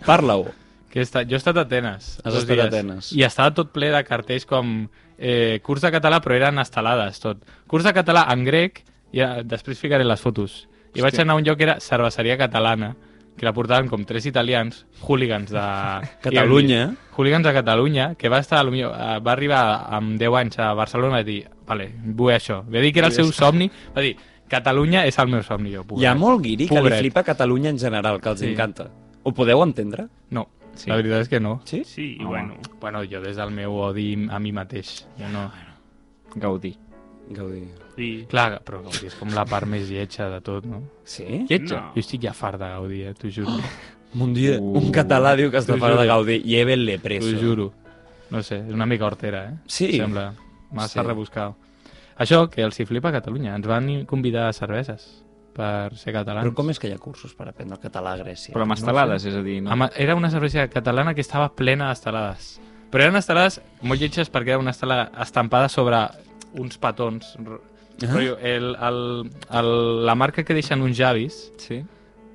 A: parla-ho.
B: Que he estat, jo he estat a Atenes.
A: Has
B: dos
A: estat a
B: dies,
A: Atenes.
B: I estava tot ple de cartells com eh, curs de català, però eren estelades, tot. Curs de català en grec, i eh, després ficaré les fotos. I vaig anar a un lloc que era cerveseria catalana, que la portaven com tres italians, hooligans de...
A: Catalunya.
B: Hooligans de Catalunya, que va estar, a lo millor, eh, va arribar amb 10 anys a Barcelona i va dir, vale, vull això. Va dir que era el seu somni, va dir, Catalunya és el meu somni,
A: Hi
B: jo.
A: ha
B: pobret.
A: molt guiri que
B: Pobret.
A: li flipa Catalunya en general, que els
B: Sí.
A: encanta. Ho podeu entendre?
B: No,
D: Sí.
B: sí. la veritat és que no.
A: Sí?
C: Sí, i
D: Home.
C: bueno.
B: Bueno, jo des del meu odi a mi mateix. Jo no...
D: Gaudí.
A: Gaudí.
C: Sí.
B: Clar, però Gaudí és com la part més lletja de tot, no?
A: Sí?
D: Lletja.
C: No.
B: Jo estic ja fart de Gaudí, eh? T'ho juro.
A: Ah. Un dia,
D: Uh.
A: un català diu que està
B: T'ho
A: fora de
B: juro.
A: Gaudí. Llévenle preso.
B: T'ho juro. No sé, és una mica hortera, eh?
A: Sí.
B: Sembla
A: Sí.
B: massa sí. rebuscat. Això, que els hi flipa a Catalunya. Ens van convidar a cerveses per ser catalans.
A: Però com és que hi ha cursos per aprendre el català a Grècia?
D: Però amb estelades, és a dir, no?
B: Ama- Era una cervesa catalana que estava plena d'estelades. Però eren estelades molt lletges perquè era una estelada estampada sobre uns petons.
A: Ah.
B: Ah? El, el, el, la marca que deixen uns javis
D: Sí?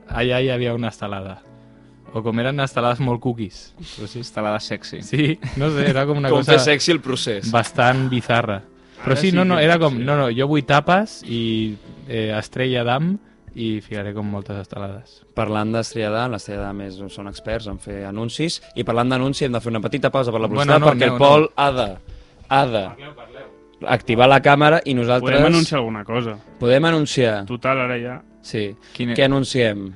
B: allà hi havia una estelada. O com eren estelades molt cookies.
D: Però sí, estelada sexy.
B: Sí, no sé, era com una
A: Com
B: cosa
A: fer sexy el procés.
B: bastant bizarra. Però
C: Ara
B: sí,
C: sí
B: no, no,
C: que-
B: era com,
C: sí.
B: no, no, jo vull tapes i eh, estrella d'am i ficaré com moltes estelades.
A: Parlant d'Estriadà, l'Estriadà més són experts en fer anuncis, i parlant d'anunci hem de fer una petita pausa per la
B: Bueno,
A: publicitat
B: no,
A: perquè
B: no,
A: el Pol ha de, ha de activar la càmera i nosaltres
C: Podem anunciar alguna cosa.
A: podem anunciar.
C: Total, ara ja...
A: Sí.
D: Quin-
A: Què anunciem?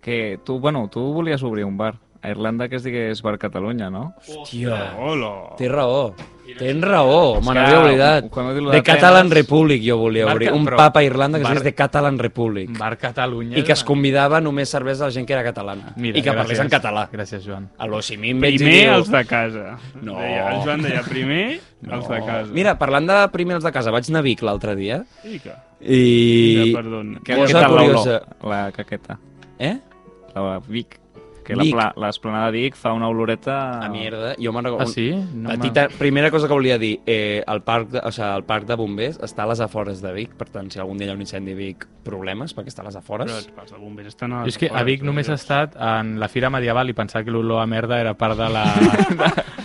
D: Que tu, bueno, tu volies obrir un bar a Irlanda que es digués Bar Catalunya, no?
A: Hòstia,
C: Hola!
A: Eh, té raó. Tens raó, me
D: que,
A: n'havia oblidat.
D: quan heu dit lo
A: De
D: de temes-
A: Catalan Republic jo volia
B: Barca-
A: obrir. Un
B: però-
A: papa a Irlanda que es
B: Bar-
A: digués de Catalan Republic.
B: Bar Catalunya...
A: I que es convidava només cervesa a la gent que era catalana.
B: Mira,
A: I que parlés
B: gràcies.
A: en català.
B: Gràcies, Joan.
A: A l'Osimim veig i
C: Primer
A: diu-
C: els de casa.
A: No.
C: Deia, el Joan deia primer els de casa.
A: Mira, parlant de primer els de casa, vaig anar a Vic l'altre dia
C: I que...
A: i...
C: Ja, perdona.
D: Que,
A: Cosa
D: què tal la olor?
A: curiosa.
D: La caqueta.
A: Eh?
D: La Vic. Que
A: Vic.
D: la pla- l'esplanada de Vic fa una oloreta...
A: A merda. Jo me'n recordo...
B: Ah, sí? No me'n-
A: Petita, primera cosa que volia dir, eh, el, parc de, o sigui, el parc de bombers està a les afores de Vic, per tant, si algun dia hi ha un incendi a Vic, problemes, perquè està a les
C: Però
A: afores.
C: els de bombers estan a...
B: Jo és que a Vic només ha estat en la fira medieval i pensar que l'olor a merda era part de la,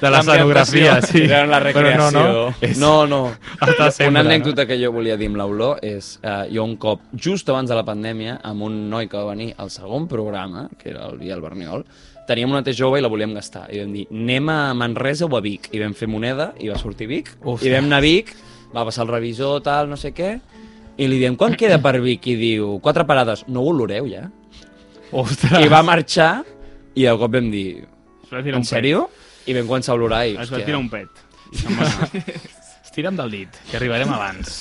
B: de la escenografia. Sí.
A: Era en la
B: Però
A: recreació.
B: no, no. És...
A: no, no.
B: Hasta sempre,
A: Una anècdota que jo volia dir amb l'olor és eh, jo un cop, just abans de la pandèmia, amb un noi que va venir al segon programa, que era el Biel Berniol, teníem una té jove i la volíem gastar. I vam dir, anem a Manresa o a Vic? I vam fer moneda, i va sortir Vic,
B: Ostres.
A: i vam anar a Vic, va passar el revisor, tal, no sé què, i li diem, quan queda per Vic? I diu, quatre parades. No ho oloreu, ja?
B: No? Ostres.
A: I va marxar, i de cop vam dir,
C: Es va tirar
A: en
C: un
A: sèrio? I vam començar a olorar, i
C: Pet. Es va
A: hòstia,
C: tirar un pet. I se'n va anar.
B: Estira'm del dit, que arribarem abans.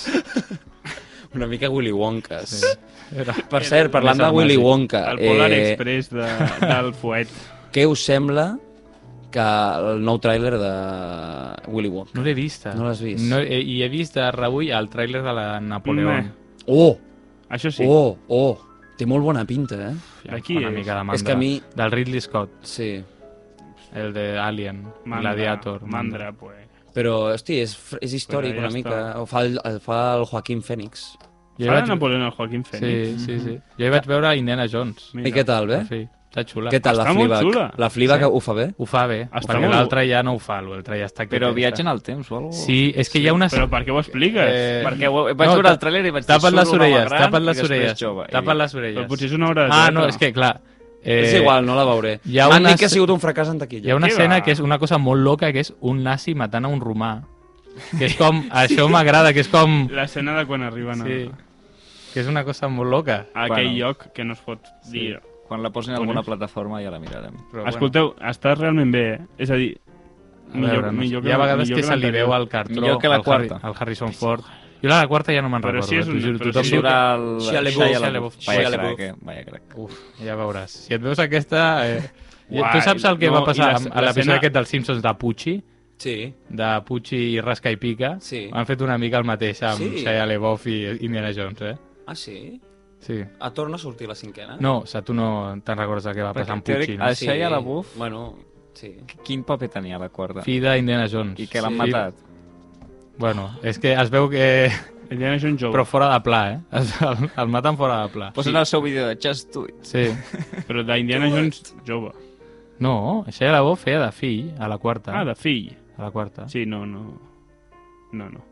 A: una mica Willy Wonkas.
B: Sí. Era...
A: Per cert, parlant de
B: Més
A: Willy
B: armàgic.
A: Wonka, eh,
C: El Polar Express de, del Fuet.
A: què us sembla que el nou tràiler de Willy Wonka?
B: No l'he vista.
A: No l'has vist?
B: No, eh, I he vist de rebull el tràiler de la Napoleón.
C: Meh.
A: Oh,
C: Això sí.
A: sí. oh, oh, té molt bona pinta, eh?
B: Hòstia, em
C: De
B: fa
C: qui
B: una
C: és?
B: mica de
A: És
B: mandra.
A: que a mi-
B: Del Ridley Scott,
A: Sí.
B: el de Alien,
C: Mandra,
B: Gladiator.
C: Mandra, pues.
A: Però, hosti, és, fr- és històric
C: Bueno, ja
A: una mica.
C: està.
A: Ho fa el, el fa el Joaquín Phoenix.
B: Jo hi
C: Ara
B: vaig...
C: Napoleón el Joaquín Fènix.
B: Sí, sí, sí. Jo hi vaig veure Indiana Jones.
A: I què tal, bé?
B: En fi, està xula.
A: Què tal la
C: Està molt
A: Fleabag?
C: xula.
A: La Fleabag
B: Sí.
A: ho fa bé?
B: Ho fa bé,
C: Està
B: perquè
C: molt-
B: l'altre ja no ho fa, l'altre ja està... aquí
D: Però
B: tens,
D: viatgen
B: eh?
D: al temps o alguna
B: Sí, és que hi ha una...
C: Però per què ho expliques?
B: Eh,
D: Perquè ho- vaig veure
B: ta-
D: el tràiler i vaig dir,
B: Tapa't
D: "Surt
B: les
D: un home
B: orelles,
D: gran
B: tapa't
D: i
B: les
D: després
B: orelles,
D: jove", i-
B: tapa't les orelles.
C: Però potser és una hora de
B: Ah,
C: teatre.
B: no, és que, clar... Eh,
A: És igual, no la veuré.
B: hi ha
A: M'han
B: una
A: dit que ha
B: se-
A: sigut un fracàs en
B: Hi ha
A: taquilla.
B: una
C: Què
B: escena
C: va?
B: que és una cosa molt loca, que és un nazi matant a un romà. Que és com... Això m'agrada, que és com...
C: L'escena de quan arriben a,
B: Sí. Que és una cosa molt loca.
C: a aquell
D: Bueno.
C: lloc que no es pot dir.
D: Quan la posin en alguna plataforma ja la mirarem.
B: Però,
C: Escolteu, està realment bé, eh? És a dir,
B: bueno,
C: millor,
B: a veure, no sé.
C: millor
B: hi ha vegades
C: millor
B: que, se li
C: l'anterior.
B: veu al cartró,
D: Millor que la
B: al, Harry,
D: quarta.
B: al Harrison Ford. Jo la, la quarta ja no me'n
C: Però
B: recordo.
C: si és
B: eh,
C: un-
B: t'ho juro,
C: però
B: tothom
C: si
B: diu que-
C: és
D: Surt el...
A: Shia LaBeouf.
D: Shia
B: Shia LaBeouf.
D: Vaya
A: Shia
D: crac,
A: LaBeouf.
D: eh? Vaya crack.
B: Uf, ja veuràs. Si et veus aquesta... Eh,
C: Uai,
B: Uai, tu saps el que
C: no,
B: va passar
C: i la-
B: amb- a
C: l'escena-
B: l'episodi aquest dels Simpsons de Pucci?
A: Sí.
B: De Pucci i Rasca i Pica?
A: Sí.
B: Han fet una mica el mateix amb
A: Sí.
B: sí. Shia LaBeouf i Indiana Jones, eh?
A: Ah, sí?
B: Sí.
A: A torna a sortir la cinquena?
B: No, o sigui, tu no te'n recordes el que va
D: Perquè
B: passar amb
D: teòric-
B: Pucci,
D: a
B: no?
D: Sí. Shia LaBeouf?
A: Bueno, sí.
D: Quin paper tenia la quarta?
B: Fi d'Indiana Jones.
D: I que l'han
B: Sí.
D: matat.
B: Bueno, és que es veu que...
C: Indiana Jones jove.
B: Però fora de pla, eh? Es, el, el maten fora de pla.
D: Posen el seu vídeo de Just Do It.
B: Sí.
C: Però d'Indiana Jones jove.
B: No, Shia LaBeouf feia de fill a la quarta.
C: Ah, de fill.
B: A la quarta.
C: Sí, no, no. No, no.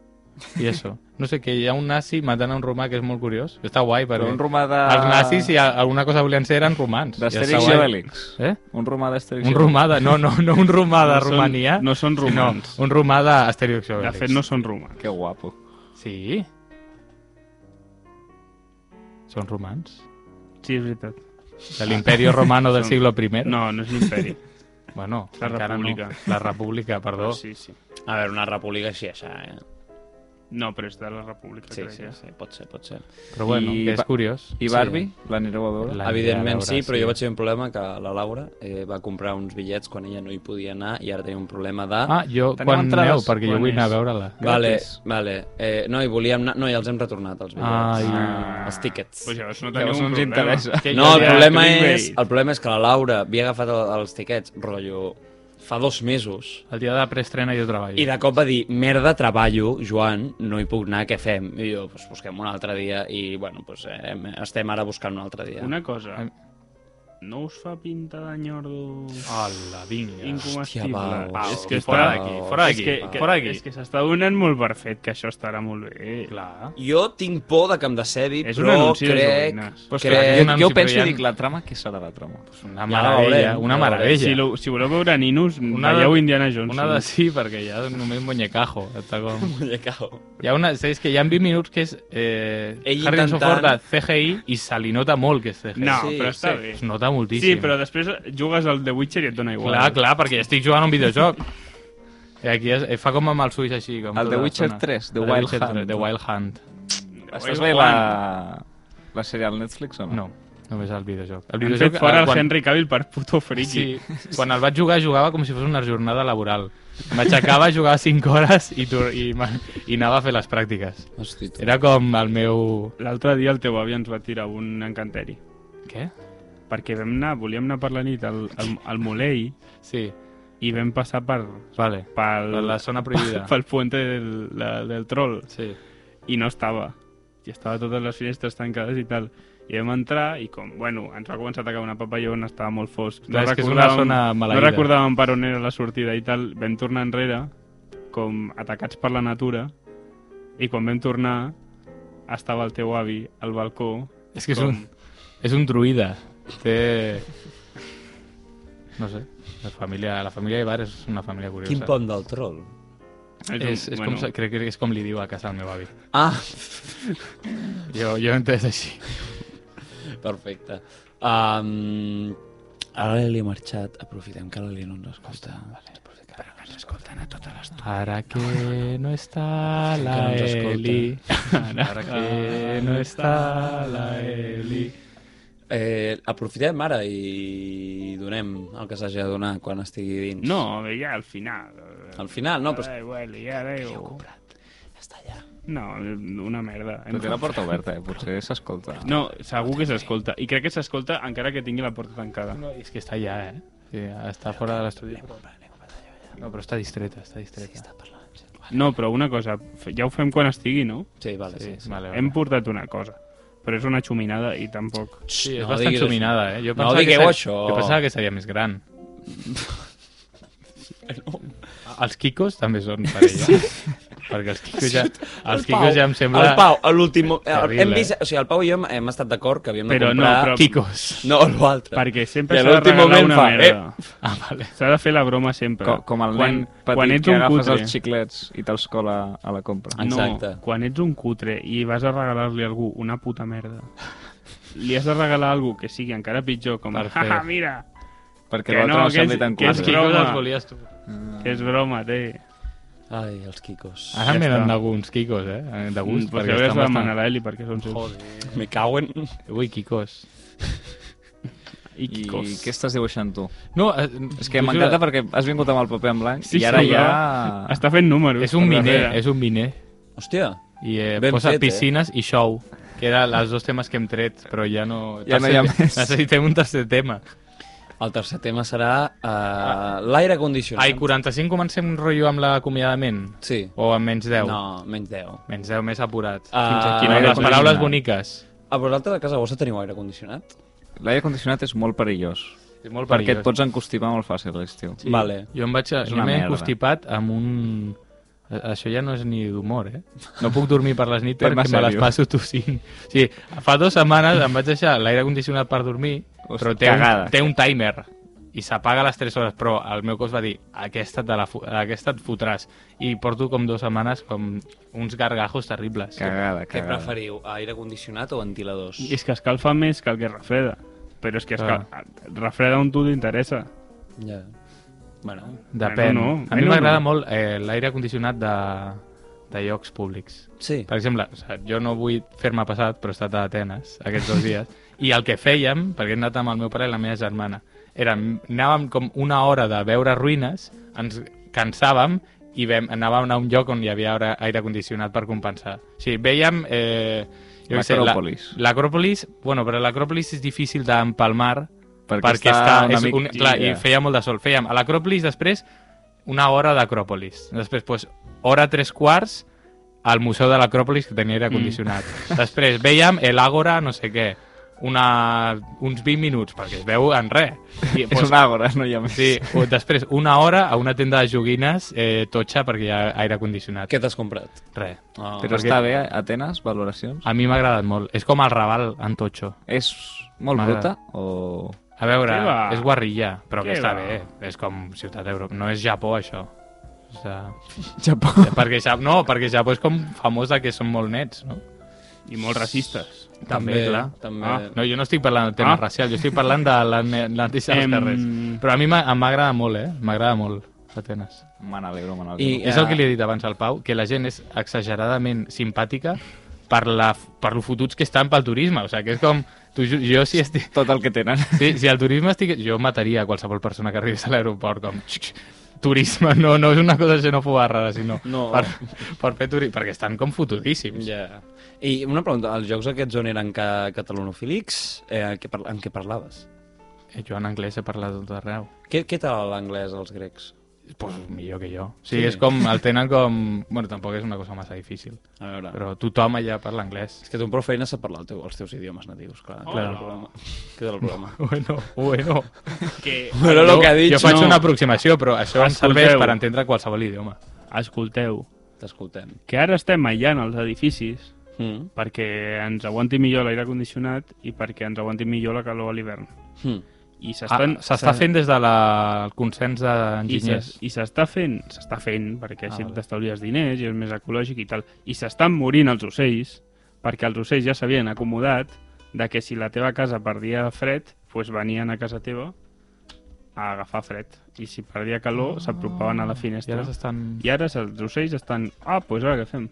B: I això. No sé, que hi ha un nazi matant a un romà que és molt curiós. Està guai,
D: Però
B: perquè...
D: un romà de...
B: Els nazis, si a- alguna cosa volien ser, eren romans.
D: D'Astèrix
B: està
D: i
B: guai.
D: Obélix.
B: Eh?
D: Un romà d'Astèrix
B: Un romà de... No, no, no un romà Ah, de
C: No són-
B: Romania.
C: no són romans.
B: Sinó un romà d'Astèrix i
C: De
B: Obélix.
C: fet, no són romans.
D: Que guapo.
B: Sí. Són romans.
C: Sí, és veritat.
B: De l'imperio romano del
C: Són-
B: siglo I.
C: No, no és l'imperi.
B: Bueno,
C: La
B: encara
C: república.
B: no. La república, perdó.
C: Sí, sí.
A: A veure, una república així, això, eh?
C: No, però és de la república,
A: Sí,
C: crec
A: sí,
C: que és.
A: sí, pot ser, pot ser.
B: Però bueno,
D: I
B: que és
D: va-
B: curiós.
D: I Barbie? L'anireu a veure?
B: La-
D: La...
B: L'aniré
A: Evidentment
B: a veure,
A: sí, però
B: sí.
A: jo vaig tenir un problema que la Laura eh, va comprar uns bitllets quan ella no hi podia anar i ara tenia un problema de...
B: Ah, jo,
D: Teniu
B: quan
D: entrades?
B: aneu? Perquè jo
C: Quan
B: vull anar a
C: és?
B: veure-la.
A: vale,
D: gratis.
A: vale. Eh, no, i volíem anar... No, ja els hem retornat, els bitllets.
B: Ai.
A: Ah. Els tiquets.
C: Pues llavors no teniu
D: Llavors no
C: un
D: ens
C: problema.
D: interessa.
B: Que
A: No,
B: jo
A: el
B: ja-
A: problema, és,
C: clickbait.
A: el problema és que la Laura havia agafat el, els tiquets, rotllo, fa dos mesos,
B: El dia de la preestrena jo treballo.
A: i de cop va dir, merda, treballo, Joan, no hi puc anar, què fem? I jo, pues, busquem un altre dia, i bueno, pues, eh, estem ara buscant un altre dia.
C: Una cosa. no us fa pinta de nyordo
B: Hola, vinga.
C: incomestible?
A: Hòstia, Pau.
C: és que
B: fora
C: està...
B: d'aquí,
A: Pau,
B: fora
C: és
B: d'aquí,
C: que, que,
B: fora d'aquí.
C: És que s'està donant molt per fet que això estarà molt bé. eh?
B: Clar.
A: Jo tinc por de que em decebi,
C: És un
A: però
C: anunci de
A: crec...
C: joguines.
A: Pues
D: Pues
A: crec...
B: clar, és
D: clar,
B: una
D: jo, jo
B: anunci,
D: penso
B: però ja
D: i dic,
B: no-
D: la trama, què serà la trama?
B: Una
A: Ja la
B: meravella,
A: veurem,
B: una
A: ja la veurem.
B: meravella.
C: Si, lo, si voleu veure ninos,
B: Una
C: una
B: de-
C: veieu Indiana Jones.
B: Una de sí, perquè ja només muñecajo. Està com...
A: Muñecajo.
B: Hi ha una, és que hi ha 20 minuts que és eh,
A: Ell
B: Harrison
A: intentant-
B: Ford de CGI i se li nota molt que és CGI.
C: No,
A: Sí,
C: sí, però està
A: sí.
C: sí.
B: Es
C: bé.
B: nota moltíssim.
C: Sí, però després jugues al The Witcher i et dona igual.
B: Clar, clar, perquè estic jugant a un videojoc. I aquí es, eh, fa com amb els ulls així. Com
D: El The
B: tota
D: Witcher
B: l'estona.
D: 3, The
B: El
D: Wild
B: Witcher 3,
D: Hunt.
B: The Wild Hunt.
D: Estàs veient la, la sèrie al Netflix o no?
B: No, només el videojoc. El
C: Han fet fora
B: eh,
C: el Henry Cavill per puto friki.
B: Sí, quan el vaig jugar, jugava com si fos una jornada laboral. M'aixecava, jugava 5 hores i, tor- i, ma- i anava a fer les pràctiques.
A: Hosti, tu.
B: Era com el meu...
C: L'altre dia el teu avi ens va tirar un encanteri.
B: Què?
C: Perquè vam anar, volíem anar per la nit al, al, al Molei
B: Sí,
C: i vam passar per,
B: vale.
C: pel,
B: Per la zona prohibida.
C: pel puente del, la, del troll
B: Sí.
C: i no estava. I estava totes les finestres tancades i tal. I vam entrar i com, bueno, ens va començar a atacar una papallona, estava molt fosc.
B: Clar, és que és una
C: recordàvem-
B: zona
C: no
B: maleïda.
C: recordàvem per on era la sortida i tal. Vam tornar enrere, com atacats per la natura, i quan vam tornar estava el teu avi al balcó.
B: És que és
C: com-
B: un, és un druida. Té... No sé. La família, la família Ibar és una família curiosa.
A: Quin pont del troll.
C: un-
B: És, és com, se- crec que és com li diu a casa al meu avi.
A: Ah,
B: Jo, jo he entès així.
A: perfecte. Um, ara l'Eli ha marxat, aprofitem que l'Eli no ens escolta. Vale, però que ens escolten a tota l'estona.
B: Ara que Ah, no Ah, està la
A: Que no ens escolta.
B: Eli. Ara eh. que no està la Eli.
A: Eh, aprofitem ara i donem el que s'hagi de donar quan estigui dins.
C: No, bé, ja al final.
A: Al final, no, però...
C: Ara, bueno, ja, adéu.
A: Està allà.
C: No, una merda.
D: Però té la porta oberta, eh? Potser s'escolta.
C: No, segur que s'escolta. I crec que s'escolta encara que tingui la porta tancada.
B: No, és que està allà, eh? Sí, està fora de l'estudi. No, però està distreta, està distreta.
C: No, però una cosa, f- ja ho fem quan estigui, no?
A: Sí, vale, sí. sí.
B: vale, vale.
C: Hem portat una cosa, però és una xuminada i tampoc...
B: Sí, és
A: No
B: bastant
A: diguis
B: xuminada, eh? Jo
A: No
B: pensava que
A: digueu
B: seria,
A: això.
B: Jo pensava que seria més gran. Els quicos també són per ella. Perquè els quicos ja, els quicos ja em sembla...
A: El Pau, a l'últim...
B: Terrible,
A: Hem vist... O sigui, el Pau i jo hem, hem estat d'acord que havíem de
C: Però no,
A: comprar...
C: però-
B: Quicos.
A: No, l'altre.
C: Perquè
A: I
C: sempre
A: a
C: s'ha de
A: l'últim
C: regalar
A: moment
C: una
A: fa,
C: merda.
B: Ah, vale.
C: S'ha de fer la broma sempre.
D: Com, com el
C: quan,
D: nen petit
C: quan ets
D: que
C: un
D: agafes
C: cutre...
D: els xiclets i te'ls cola a la compra.
A: Ah,
C: No,
A: Exacte.
C: quan ets un cutre i vas a regalar-li a algú una puta merda, li has de regalar algú que sigui encara pitjor, com...
B: Per fer.
C: Haha, mira,
D: Perquè
C: que
D: l'altre
C: no,
D: no, no
C: que
D: sembli
C: és-
D: tan
C: que
B: Els
C: és
D: cutre.
B: quicos
C: broma.
B: els em volies tu.
C: que és broma, té.
A: eh, Ai, els quicos.
B: Ara
C: Ja
B: ja m'eren
C: està.
B: alguns quicos, eh? De gust.
C: Mm, Potser hauràs de demanar a l'Eli perquè són seus.
A: Me cauen...
B: Ui, quicos.
C: I
D: I
C: Kikos.
D: què estàs dibuixant tu?
B: No, eh,
D: És que
B: t'ho
D: m'encanta
B: juro,
D: perquè has vingut amb el paper en blanc
C: Sí,
D: i ara
C: sí,
D: ja...
C: Està fent números.
B: És un
C: per
B: miner,
C: darrere.
B: és un miner.
A: Hòstia,
B: I eh,
A: Ben
B: posa
A: fet, eh?
B: piscines i show, que eren els dos temes que hem tret, però ja no...
D: Ja no hi ha
B: Tercer-
D: més.
B: Necessitem un tercer tema.
A: el tercer tema serà uh, l'aire condicionat.
B: Ai, 45 comencem un rotllo amb l'acomiadament?
A: Sí.
B: O amb menys 10?
A: No, menys 10.
B: Menys 10, més apurat.
A: Ah,
B: Fins
A: aire
B: aquí, no? Les
D: condicionat.
B: paraules boniques.
A: A vosaltres a casa vostra teniu aire condicionat?
D: L'aire condicionat és molt perillós,
B: És molt
D: perquè
B: perillós.
D: et pots encostipar molt fàcil l'estiu.
A: Sí. Vale.
B: Jo em vaig...
D: És
B: Jo
D: una
B: m'he
D: merda.
B: constipat amb un... A- Això ja no és ni d'humor, eh? No puc dormir per les nits
D: Tema
B: perquè me les
D: serio.
B: passo tossint. O sigui, fa dues setmanes em vaig deixar l'aire condicionat per dormir,
D: Hosti,
B: però té un,
D: cagada.
B: té un timer i s'apaga a les 3 hores, però el meu cos va dir aquesta, te la, fu- aquesta et fotràs. I porto com dues setmanes com uns gargajos terribles.
D: Cagada,
A: Què
D: cagada.
A: preferiu, aire condicionat o ventiladors?
C: És que escalfa més que el que refreda. Però és que escal... refreda on tu t'interessa.
A: Ja. Bueno,
B: Depèn.
C: Bueno, no.
B: A mi
C: Bueno,
B: m'agrada
C: no.
B: molt eh, l'aire condicionat de, de llocs públics.
A: sí.
B: Per exemple, o sigui, jo no vull fer-me passat, però he estat a Atenes aquests dos dies, i el que fèiem, perquè he anat amb el meu pare i la meva germana, era, anàvem com una hora de veure ruïnes, ens cansàvem i vam, anàvem a un lloc on hi havia ara aire condicionat per compensar. O sigui, vèiem... Eh, jo què sé, la-
D: L'acròpolis.
B: L'acròpolis, bueno, però l'acròpolis és difícil d'empalmar
D: Perquè
B: perquè
D: està
B: està,
D: una
B: és
D: mica-
B: un, clar,
D: ja.
B: i feia molt de sol. Fèiem a l'Acròpolis, després una hora d'Acròpolis. Després, doncs, hora tres quarts
D: Mm.
B: al Museu de l'Acròpolis, que tenia aire condicionat. Després vèiem l'Àgora, no sé què. una, uns 20 minuts, perquè es veu en res. I,
D: És una àgora, no hi ha més.
B: Sí, o després una hora a una tenda de joguines eh, totxa perquè hi ha aire condicionat. Que...
A: Què t'has comprat?
B: Res.
A: Oh,
D: Però està bé, Atenes, valoracions?
B: A mi m'ha agradat molt. És com el Raval en totxo.
D: És molt bruta
B: M'agrada.
D: o...
B: A veure,
C: Què va?
B: és guarrilla, però
C: Què
B: que està
C: va?
B: bé. És com Ciutat d'Europa. No és Japó, això. O sigui,
D: Japó.
B: perquè Japó, no, perquè Japó és com famosa que són molt nets, no?
C: I molt racistes.
B: També, clar.
A: També...
C: Ah,
B: No, jo no estic parlant del tema
C: Ah.
B: ah. racial, jo estic parlant de la, ne- la neteja dels
C: Em-
B: carrers. Però a mi m'ha- m'agrada molt, eh? M'agrada molt, Atenes.
D: Me n'alegro, me n'alegro.
A: I-
B: És el que li he dit abans al Pau, que la gent és exageradament simpàtica per, la, per lo fotuts que estan pel turisme. O sigui, que és com... Tu, ju- jo si estic...
D: Tot el que tenen.
B: Si, si el turisme estic... Jo mataria a qualsevol persona que arribés a l'aeroport com... "Xic, xic, Turisme, no, no és una cosa xenòfoba rara, sinó
A: No.
B: per, per fer turisme, perquè estan com fotudíssims.
A: Ja. I una pregunta, els jocs aquests on eren ca catalanofílics, eh, què par- en què parlaves?
B: Eh, Jo en anglès he parlat tot arreu.
A: Què, què tal l'anglès als grecs?
B: Pues millor que jo. O sigui,
A: Sí.
B: sí. és com, el tenen com... Bueno, tampoc és una cosa massa difícil,
A: A veure, Però...
B: però tothom allà parla anglès.
A: és que tu amb prou feina sap parlar el teu, els teus idiomes natius, clar. Oh,
B: Claro.
A: Queda el problema.
B: Bueno, bueno.
C: Que
A: Bueno,
B: jo,
A: lo que ha dit,
B: jo faig
A: no.
B: una aproximació, però això ens
C: Escolteu.
B: serveix per entendre qualsevol idioma.
C: escolteu,
A: T'escoltem.
C: que ara estem aïllant els edificis
A: Mm.
C: perquè ens aguanti millor l'aire condicionat i perquè ens aguanti millor la calor a l'hivern.
A: Mm.
C: I s'estan...
B: S'està ah,
C: s'ha-
B: fent des del de la... el consens
C: I
B: d'enginyers.
C: s'es- i s'està fent, s'està fent, perquè
B: Ah,
C: així
B: vale.
C: t'estalvies diners i és més ecològic i tal. I s'estan morint els ocells, perquè els ocells ja s'havien acomodat de que si la teva casa perdia fred, doncs venien a casa teva a agafar fred. I si perdia calor, s'apropaven a la
B: Ah. I
C: finestra.
B: ara s'estan...
C: I ara els ocells estan... Ah, doncs ara què fem?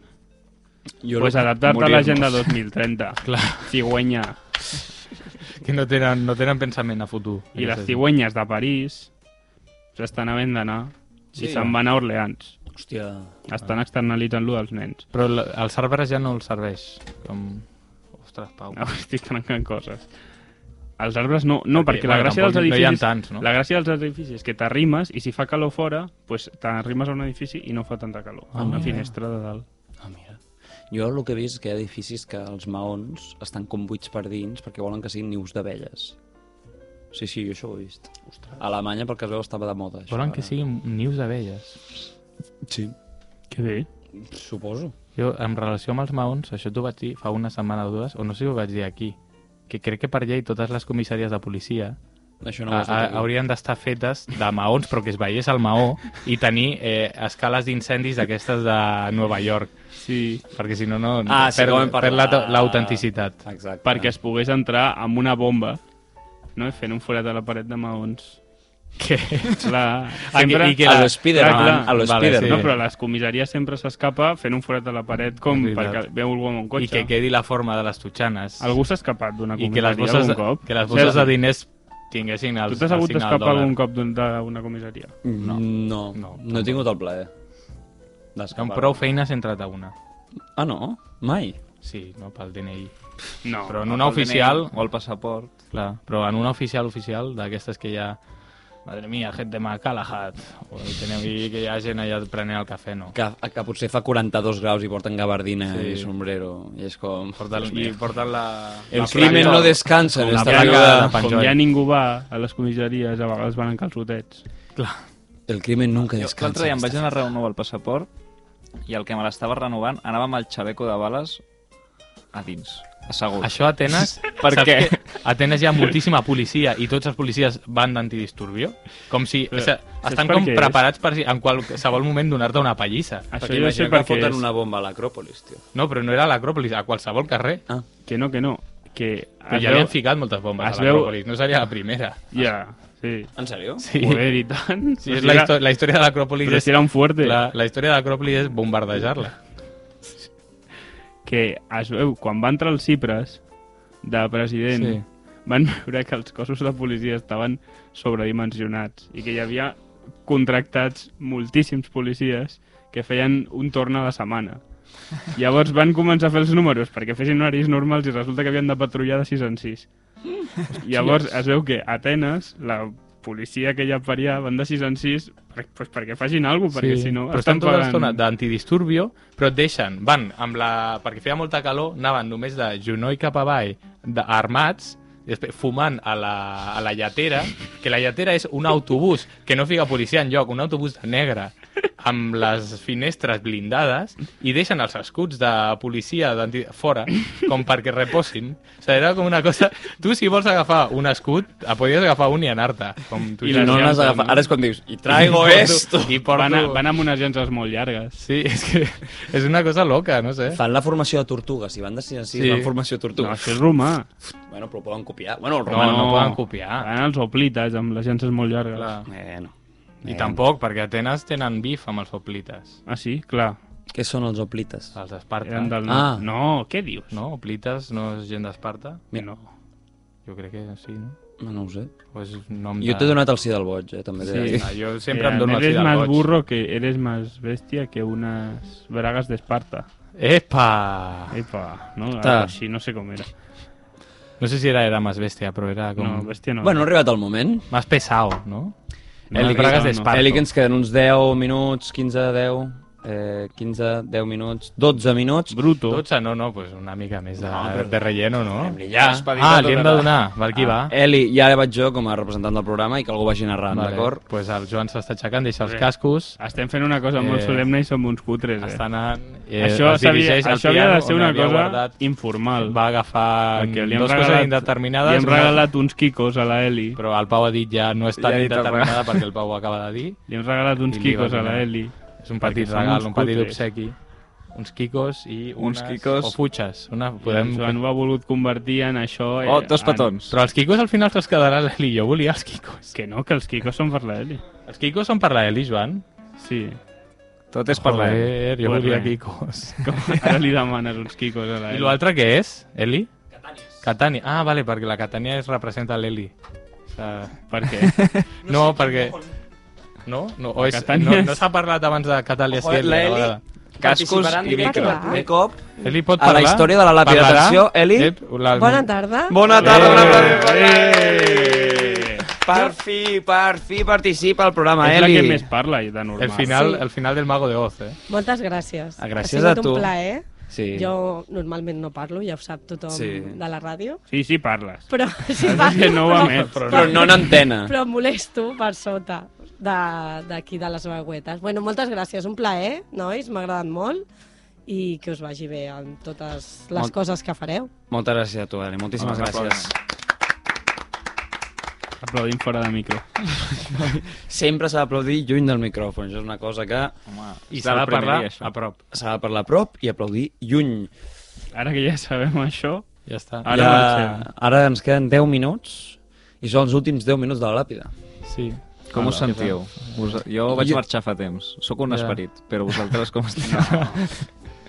A: Jo
C: Doncs pues
A: ara...
C: adaptar-te a l'agenda
D: morir-nos.
C: 2030.
B: Clar,
C: Cigüenya.
B: que no tenen, no tenen pensament a futur.
C: I les
B: Aquesta gent.
C: cigüenyes de París s'estan havent d'anar
A: Sí.
C: i se'n van a Orleans.
A: Hòstia,
C: Estan
B: Ah.
C: externalitzant-lo dels nens.
B: Però la- els arbres ja no els serveix. Com... Ostres, Pau.
C: No, estic trencant coses. Els arbres no, no perquè, la
B: Bueno,
C: gràcia dels
B: tampoc no hi ha
C: edificis...
B: tants, no?
C: La gràcia dels edificis és que t'arrimes i si fa calor fora, pues, t'arrimes a un edifici i no fa tanta calor.
B: Ah,
C: a una
B: mira.
C: finestra de dalt.
A: Ah, mira. Jo el que he vist és que hi ha edificis que els maons estan com buits per dins perquè volen que siguin nius d'abelles. Sí, sí, jo això ho he vist. Ostres. A Alemanya, pel que es veu, estava de moda. Això,
B: Volen que
A: ara.
B: siguin nius d'abelles.
A: Sí,
C: Que bé.
A: suposo.
B: Jo, en relació amb els maons, això t'ho vaig dir fa una setmana o dues, o no sé si ho vaig dir aquí, que crec que per llei totes les comissaries de policia
A: Això no
B: no
A: ho has dit
B: a,
A: aquí.
B: haurien d'estar fetes de maons, però que es veiés el maó, i tenir eh, escales d'incendis d'aquestes de Nova York,
C: Sí,
B: perquè si no, no
A: Ah, sí, com hem
B: perd, perd la-
A: parlat. Ah,
B: l'autenticitat.
A: Exacte.
C: perquè es pogués entrar amb una bomba no? i fent un forat a la paret de maons.
B: Que...
C: Clar,
B: Ah,
C: sempre...
B: i que
A: a
B: la-
A: lo Spiderman,
C: clar, clar.
A: a lo
B: Vale,
A: Spiderman.
C: No,
B: sí.
C: però les comissaries sempre s'escapa fent un forat a la paret com
B: És veritat.
C: perquè veu algú amb un
B: I
C: cotxe.
B: que quedi la forma de les totxanes.
C: Algú s'ha escapat d'una
B: I
C: comissaria
B: que les bosses,
C: algun
B: de,
C: cop.
B: que les bosses de
C: Sergi,
B: diners tinguessin el,
C: Tu t'has
B: el
C: hagut
B: signe del
C: d'escapar
B: dòlar.
C: algun cop d'un- d'una comissaria?
A: No, no, no,
B: No,
A: no he tingut el plaer.
B: Amb
A: d'escapar.
B: prou feines he entrat a una.
A: Ah, no? Mai?
B: Sí, no pel DNI.
C: No.
B: Però en una oficial,
D: O el passaport.
B: clar, però en una oficial oficial d'aquestes que hi ha Madre mia, gent de Macalahat. O teniu i que hi ha gent allà prenent el cafè, no?
A: Que, que potser fa 42 graus i porten gabardina i
B: Sí.
A: sombrero. I és com...
B: Porten,
A: Dios
B: I
A: mío.
B: porten la...
A: El
B: la
A: crimen
B: placa.
A: no descansa en
B: La
A: esta
B: placa
A: ciudad.
B: de Pan
C: Com
B: Joy.
C: ja ningú va a les comissaries, a vegades van en calçotets.
B: Clar.
A: El crimen nunca
D: Jo
A: descansa.
D: L'altre dia em
A: en
D: vaig
A: esta
D: anar a renovar el passaport i el que me l'estava renovant anava amb el xaleco de bales a dins, assegut.
B: Això a Atenes...
D: Per
B: saps
D: què?
B: que A Atenes hi ha moltíssima policia i tots els policies van d'antidisturbio. Com si... O sigui, estan
C: per
B: com
C: què és?
B: preparats per si en qualsevol moment donar-te una pallissa.
C: Això
A: Perquè
C: jo
A: imagino
C: sé per
A: que
C: què
A: foten
C: és.
A: una bomba a l'Acròpolis, tio.
B: No, però no era a l'Acròpolis, a qualsevol carrer.
A: Ah,
C: Que no, que no. Que
B: Però
C: es
B: ja
C: veu-
B: havien ficat moltes bombes
C: es
B: a
C: veu-
B: l'Acròpolis, no seria la primera.
C: Ja, sí.
A: en sèrio? Sí.
B: Sí,
C: Joder, i tant.
B: sí és la, histò la història de l'Acròpolis
C: Però
B: és...
C: si era un fuerte.
B: La, la història de l'Acròpolis és bombardejar-la.
C: Que es veu, quan va entrar el Cipres, de president,
B: Sí.
C: van veure que els cossos de policia estaven sobredimensionats i que hi havia contractats moltíssims policies que feien un torn a la setmana. Llavors van començar a fer els números perquè fessin horaris normals i resulta que havien de patrullar de 6 en 6. Llavors es veu que a Atenes, la policia que ja per allà, van de 6 en 6 per, pues, perquè facin alguna cosa, perquè si no
B: però estan tota
C: pagant-
B: l'estona d'antidisturbio, però et deixen, van amb la... perquè feia molta calor, anaven només de genoll cap avall, de- armats, i després fumant a la, a la lletera, que la lletera és un autobús que no fica policia en lloc, un autobús de negre amb les finestres blindades i deixen els escuts de policia d'anti- fora com perquè reposin. O sigui, era com una cosa... Tu, si vols agafar un escut, et podies agafar un i anar-te. Com tu
C: I
A: I
B: ja
A: no
B: saps.
C: les
A: n'has agafat. Ara és quan dius, i traigo
B: I porto-
A: esto.
B: I porto...
C: Van, a, van amb unes llences molt llargues.
B: Sí, és que és una cosa loca, no sé.
A: Fan la formació de tortugues, si van de 6 en 6,
B: Sí.
A: sí. fan formació de
C: No,
A: tortugues.
C: això és romà.
A: Bueno, però ho poden copiar. Bueno, el
B: No,
A: romà
B: no,
A: no.
B: poden copiar.
C: Van als oplites amb les llences molt llargues.
B: Clar.
A: Bueno.
B: I tampoc, perquè a Atenes tenen bif amb els oplites.
C: Ah, sí? Clar.
A: Què són els oplites?
B: Els d'Esparta.
C: Eren del...
A: Ah.
C: No, què dius?
B: No, oplites no és gent d'Esparta?
A: Mira,
B: Jo crec que sí, no?
A: no, no ho sé.
B: O és nom de...
A: Jo t'he donat el sí del boig, eh, també.
B: Sí,
A: Sí.
C: Ah,
B: no, jo sempre em dono
C: Eh, Eres
B: així del
C: más
B: boig.
C: burro que eres más bestia que unas bragas de Esparta.
B: Epa!
C: Epa, no?
A: Ta.
C: Algo Així, no sé com era.
B: No sé si era, era más bestia, però era com...
C: No, bestia no.
A: Bueno, ha arribat el moment.
B: Más pesado, no?
C: No,
B: Unes
C: no,
B: bragues
C: no,
B: d'Esparta.
A: Eli, que ens queden uns 10 minuts, 15, 10, eh, 15, 10 minuts, 12 minuts.
C: Bruto.
B: 12, no, no, pues una mica més de, de relleno, no?
A: Ja. Ah, eh,
B: Ah, li hem de donar. Per aquí va.
A: Eli, i ara vaig jo com a representant del programa i que algú vagi narrant,
B: Vale,
A: d'acord?
B: Pues el Joan s'està aixecant, deixa els
C: Bé.
B: cascos,
C: Estem fent una cosa molt
B: Eh,
C: solemne i som uns cutres, eh?
B: està anant... Eh,
C: Això,
B: es
C: sabia,
B: dirigeix al
C: això havia de
B: piano
C: ser
B: on
C: una
B: havia
C: cosa
B: guardat-
C: informal.
B: va agafar
C: perquè li hem
B: dues
C: regalat-
B: coses indeterminades,
C: Li hem
B: una-
C: regalat uns quicos a la Eli.
B: però el Pau ha dit ja no és tan
D: Ja he dit
B: indeterminada
D: alguna-
B: perquè el Pau ho acaba de dir.
C: Li hem regalat uns
B: I li
C: quicos
B: va
C: a la
B: donar.
C: Eli.
B: És un petit
C: Perquè són
B: regal,
C: uns
B: un petit
C: cutres.
B: obsequi. Uns quicos i
D: Uns
B: unes...
D: quicos.
B: O futxes. Una...
C: Podem...
B: Podem...
C: Joan ho ha volut convertir en això... eh,
D: Oh, dos
C: en-
D: petons.
B: Però els quicos al final te'ls quedarà l'Eli. Jo volia els quicos.
C: Que no, que els quicos són per la Eli.
B: Els quicos són per l'Eli, Joan?
C: Sí.
D: Tot és per l'Eli.
B: Joder, jo
C: Pues
B: volia
C: res.
B: quicos.
C: Com ara li demanes uns quicos a la
B: I
C: Eli.
B: l'altre què és, Eli? Catànies. Catània. Ah, vale, perquè la Catània es representa l'Eli. O sea,
C: Per què?
B: no, perquè... No? no, o és, no,
C: Catànies.
B: no s'ha parlat abans de Catàlia
A: Ojo, eh,
B: Sierra.
A: la
B: a
A: Eli-
B: vegada.
D: Cascos i Eh,
E: directe.
D: micro.
E: Ah, clar.
A: De cop,
B: Eli pot
A: a
B: parlar?
A: la història de la làpida.
B: Parlarà?
A: Atenció, Eli.
B: Ep, la...
E: Bona tarda.
A: Bona tarda, un aplaudiment per
C: Eh!
A: Per fi, per fi participa al programa,
C: És la
A: Eli.
C: que més parla, de normal.
B: El final,
E: Sí.
B: el final del Mago de Oz, eh?
E: Moltes gràcies.
A: Ah, gràcies
E: ha sigut
A: a tu.
E: un plaer.
A: Sí.
E: Jo normalment no parlo, ja ho sap tothom
A: Sí.
E: de la ràdio.
C: Sí, sí, parles.
E: Però sí,
C: Has dit
E: parlo,
C: que no ho
E: però,
C: emet,
B: però
A: Però no en antena.
E: però molesto per sota de- d'aquí de, les vagüetes. Bueno, moltes gràcies, un plaer, nois, m'ha agradat molt i que us vagi bé amb totes les
A: Molt-
E: coses que fareu.
A: Moltes gràcies a tu, Eli. Moltíssimes
D: Un
A: gràcies.
C: Aplaudim fora de micro.
A: Sempre s'ha d'aplaudir lluny del micròfon. Això és una cosa que
D: Home,
B: I
D: és
B: s'ha
D: del
B: de parlar
D: primer
B: a
D: dia, això.
B: prop.
A: s'ha de parlar a prop i aplaudir lluny.
C: Ara que ja sabem això,
B: Ja està.
A: Ah,
C: Ara marxem.
A: ara ens queden 10 minuts i són els últims 10 minuts de la làpida.
B: Sí.
D: Com us
B: Hola, què
D: sentiu? Us... Jo vaig
A: Jo-
D: marxar fa temps. Sóc un
B: Ja.
D: esperit, però vosaltres com esteu?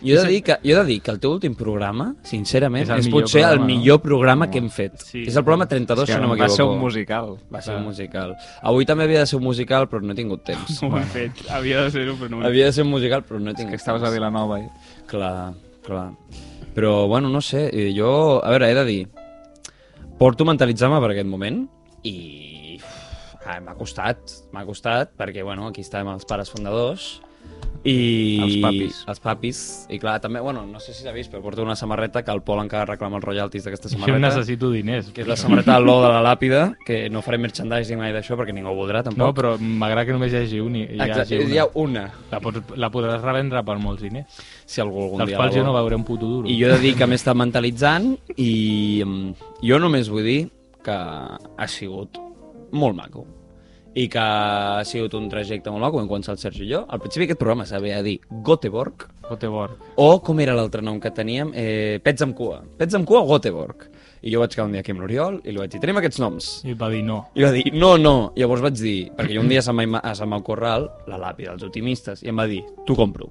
A: Jo he, de dir que, jo he de dir que el teu últim programa, sincerament,
B: És
A: és,
B: el millor
A: potser
B: programa,
A: el
B: no?
A: millor programa que hem fet.
C: Sí.
A: és el programa 32, si no
D: va
A: m'equivoco.
D: ser un musical.
A: Va ser un musical. Avui també havia de ser un musical, però no he tingut temps.
C: no ho he fet. Havia de ser-ho, però no ho he fet.
A: havia de ser un musical, però no he
D: És
A: tingut
D: que estaves a
A: temps.
D: Vilanova. Eh?
A: Clar, clar. Però, bueno, no sé, eh, jo... A veure, he de dir, porto mentalitzant-me per aquest moment i uf, ah, m'ha costat, m'ha costat, perquè, bueno, aquí estàvem els pares fundadors i...
D: Els papis.
A: Els papis. I clar, també, bueno, no sé si l'ha vist, però porto una samarreta que el Pol encara reclama els royalties d'aquesta
B: Jo
A: samarreta.
B: necessito diners.
A: Que és la samarreta de l'O de la làpida, que no faré merchandising mai d'això perquè ningú ho voldrà,
B: No,
A: tampoc.
B: però m'agrada que només hi hagi un i hi hagi
A: Exacte,
B: una.
A: hi ha una,
B: La, pots, la podràs revendre per molts diners,
A: si algú algun
B: dels
A: dia la
B: quals jo
A: vol.
B: no veuré un puto duro.
A: I jo he de dir que m'he estat mentalitzant i mm, jo només vull dir que ha sigut molt maco i que ha sigut un trajecte molt maco en quant al Sergi i jo. Al principi aquest programa s'havia de dir Göteborg
B: Göteborg.
A: o com era l'altre nom que teníem? Eh, Pets amb cua. Pets amb cua o Göteborg. I jo vaig quedar un dia aquí amb l'Oriol i li vaig dir tenim aquests noms.
B: I va dir no.
A: I va dir, no, no. I llavors vaig dir, perquè jo un dia se'm va, ima- a Sant Mau Corral, la làpida dels optimistes, i em va dir, t'ho compro.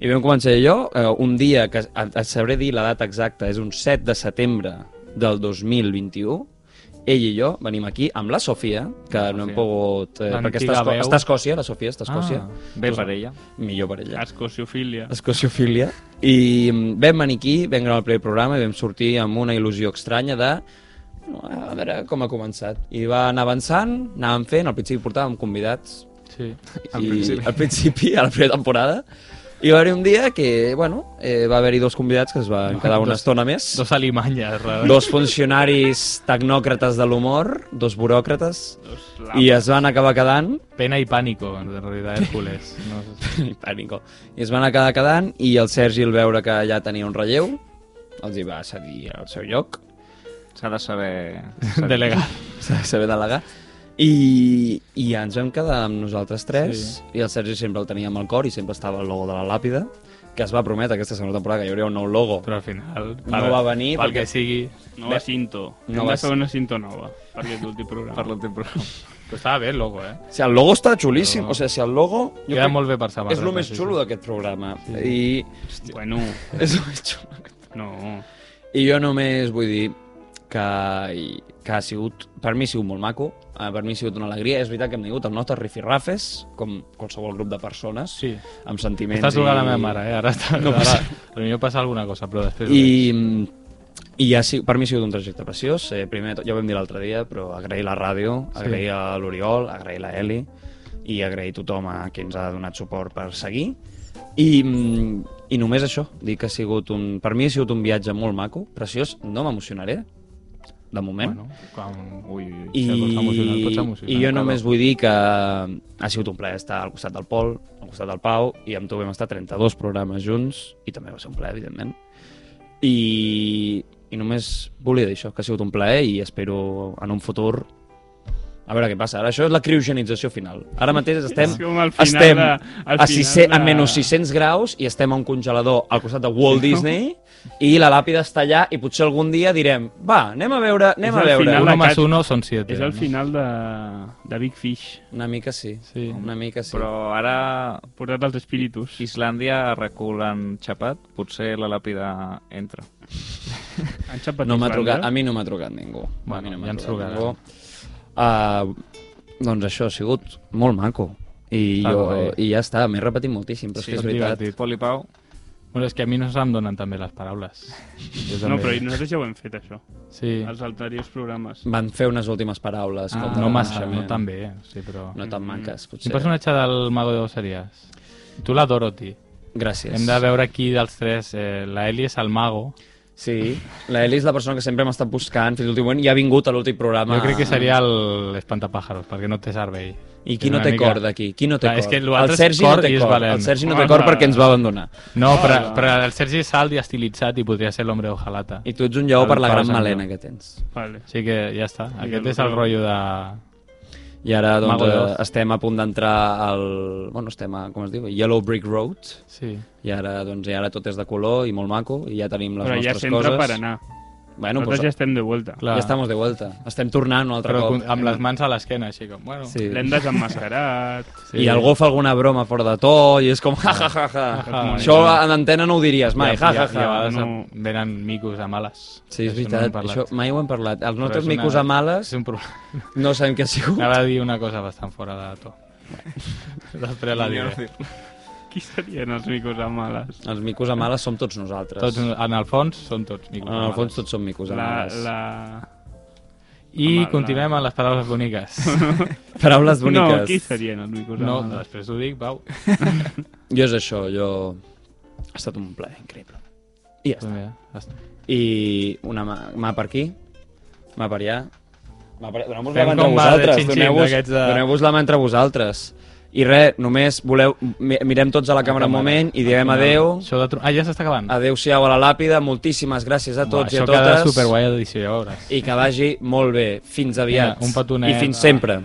A: I vam començar jo, eh, un dia que et et sabré dir la data exacta, és un 7 de setembre del 2021, ell i jo venim aquí amb la Sofia, que no hem
B: Sofia.
A: pogut... Eh, perquè està,
B: L'antiga
A: Esco-
B: veu.
A: està a Escòcia, la Sofia està a Escòcia. Doncs,
B: Ah,
D: Bé per ella.
A: Millor per ella.
C: Escociofília.
A: Escociofília. I mm, vam venir aquí, vam gravar el primer programa i vam sortir amb una il·lusió estranya de "Bueno, a veure com ha començat. I va anar avançant, anàvem fent, al principi portàvem convidats
B: Sí.
A: i al principi, a la primera temporada, I va haver un dia que, bueno, eh, va haver-hi dos convidats que es van quedar una
B: dos-
A: estona més.
B: Dos alimanyes, res.
A: dos funcionaris tecnòcrates de l'humor, dos buròcrates, i eh, es van acabar quedant,
B: Pena i pànico, en realitat, Hércules. No sé.
A: i pànico, i es van acabar quedant, i el Sergi, al veure que ja tenia un relleu, els hi va cedir al seu lloc,
D: S'ha de saber...
B: Delegar.
A: s'ha de saber delegar, i, i ens vam quedar amb nosaltres tres, sí. i el Sergi sempre el teníem al cor, i sempre estava el logo de la làpida, que es va prometre aquesta segona temporada que hi hauria un nou logo.
B: Però al final...
A: No va venir
B: Pel
A: perquè-
B: que sigui...
C: Nova cinto.
A: No
C: No Hem
A: va
C: de fer una cinto nova, perquè és l'últim programa.
D: Per l'últim programa.
B: Però estava bé el logo, eh?
A: O sigui, el logo està xulíssim,
B: Però-
A: o sigui, si el logo...
B: Jo Queda molt bé per samarreta.
A: és el més
B: sí, sí.
A: xulo d'aquest programa, sí.
C: Bueno,
A: i és el més xulo.
C: no.
A: I jo només vull dir que, i- que ha sigut, per mi ha sigut molt maco, eh, per mi ha sigut una alegria. És veritat que hem tingut els nostres rifirrafes, com qualsevol grup de persones,
B: Sí.
A: amb sentiments
B: Estàs jugant a la meva mare, eh? Ara està...
A: No
B: No,
A: passa-
B: ara, potser passa alguna cosa, però després...
A: I, i ha, sigut- per mi ha sigut un trajecte preciós. Eh, primer, de tot, ja ho vam dir l'altre dia, però agrair la ràdio,
B: Sí.
A: agrair a l'Oriol, agrair a l'Eli i agrair a tothom a qui ens ha donat suport per seguir. I, mm, i només això, dir que ha sigut un, per mi ha sigut un viatge molt maco, preciós, no m'emocionaré, de moment,
B: Bueno, quan... Ui, ui,
A: I,
B: I... Pots emocionar, pots emocionar.
A: I jo només vull dir que ha sigut un plaer estar al costat del Pol, al costat del Pau, i amb tu vam estar 32 programes junts, i també va ser un plaer, evidentment. I, i només volia dir això, que ha sigut un plaer i espero en un futur a veure què passa. Ara això és la criogenització final. Ara mateix estem,
C: És com al final
A: estem
C: de- al
A: a,
C: final
A: 600, a
C: de-
A: menys 600 graus i estem a un congelador al costat de Walt Disney i la làpida està allà i potser algun dia direm va, anem a veure, anem
C: És
A: a
C: al
A: veure.
C: final
B: Un
C: la
B: home
C: cat-
B: uno són siete.
C: És el
B: no?
C: final de, de Big Fish,
A: Una mica sí.
B: Sí.
A: Una mica sí.
D: Però ara
C: portat als espíritus.
D: Islàndia reculen xapat, potser la làpida entra.
C: Han xapat
A: no m'ha
C: Islàndia.
A: trucat, a mi no m'ha trucat ningú.
B: eh? Bueno,
A: a mi no m'ha
B: ja ens
A: trucat
B: trucaran.
A: ningú. Uh, doncs això ha sigut molt maco. I,
B: Està
A: jo,
B: guai.
A: i ja està, m'he repetit moltíssim, però sí,
B: Sí,
A: és
B: és
A: que és veritat.
B: divertit.
D: Pol i Pau,
B: Bueno, és que a mi no se'm donen també les paraules. Jo
C: No,
B: també-
C: però nosaltres ja ho hem fet, això.
B: Sí.
C: Els anteriors programes.
A: Van fer unes últimes paraules.
B: Ah,
A: com de
B: no massa,
A: reconeixement.
B: no tan bé, eh? sí, però...
A: No tan maques, potser.
B: Quin personatge del Mago de Oz series? Tu la Dorothy.
A: Gràcies.
B: Hem de veure qui dels tres... Eh, la Eli és el mago.
A: Sí, la Eli és la persona que sempre hem estat buscant fins l'últim moment i ha vingut a l'últim programa.
B: Jo crec que seria el espantapàjaros, perquè no té servei.
A: I qui
B: És
A: no
B: una
A: té
B: mica-
A: cor d'aquí? Qui no té
B: Clar,
A: cor?
B: és que
A: el
B: l'altre és
A: Sergi
B: cor
A: no té
B: i és
A: cor.
B: valent.
A: El Sergi no té cor
C: Hola.
A: perquè ens va abandonar.
B: No,
A: Oh,
B: però,
C: Hola.
B: però el Sergi és salt i estilitzat i podria ser l'hombre ojalata.
A: I tu ets un lleó
B: El
A: per la
B: Pau
A: gran
B: Sant Joan.
A: melena que tens.
C: Vale.
B: Així que ja està. Aquest
C: Miguel
B: és el
C: Otero.
B: rotllo de...
A: I ara doncs,
B: Mago de
A: eh,
B: Oz.
A: estem a punt d'entrar al... Bueno, estem a, com es diu? Yellow Brick Road.
B: Sí.
A: I ara, doncs, i ara tot és de color i molt maco i ja tenim les
C: Però ja
A: nostres
C: s'entra
A: coses.
C: per anar.
A: Bueno,
C: Nosaltres
A: pues,
C: ja
A: ja,
C: estem de volta.
B: Clar.
A: estem de vuelta. Estem tornant un altre
B: Però
A: cop.
B: con- amb les mans a l'esquena, així com... Bueno,
A: Sí.
C: L'hem desenmascarat.
A: I algú fa alguna broma fora de to i és com ja, ja, ja, ja.
B: Ah,
A: Això en antena no ho diries mai. Ja, ja,
B: I a
A: ja.
B: vegades
C: no.
B: venen micos a males.
A: Sí, és
B: Això no n'hem
A: veritat.
B: parlat.
A: Això mai ho hem parlat. Els nostres
B: és una-
A: micos a males
B: És un problema.
A: no sabem què ha sigut.
B: Anava a dir una cosa bastant fora de to. Després la diré.
C: Qui serien els micos a males?
A: Els micos a males som tots nosaltres.
B: Tots, en el fons són tots micos.
A: en el fons
B: males.
A: tots som micos a
C: La,
A: males.
C: la...
B: I
C: Amb el-
B: continuem amb les paraules boniques.
A: Paraules boniques.
C: No, qui serien els micos
B: No,
C: a males?
B: després ho dic, Pau.
A: Jo és això, jo... Ha estat un plaer increïble. I ja
B: Doncs
A: està.
B: mira, ja està.
A: I una mà, mà per aquí, mà per allà... mà Per... Doneu-vos la
B: Fem
A: mà entre
B: com va de
A: vosaltres.
B: xin-xin
A: Doneu-vos
B: d'aquests de-
A: doneu la mà entre vosaltres. I res, només voleu... mi- Mirem tots a la càmera un moment i direm adeu.
B: Això de... tru- Ah, ja s'està acabant.
A: Adeu-siau a la làpida. Moltíssimes gràcies a tots i a
B: Buah, Això queda
A: totes.
B: superguai a l'edició, ja veuràs.
A: I que vagi molt bé. Fins aviat.
B: Vinga, un petonet.
A: I fins sempre.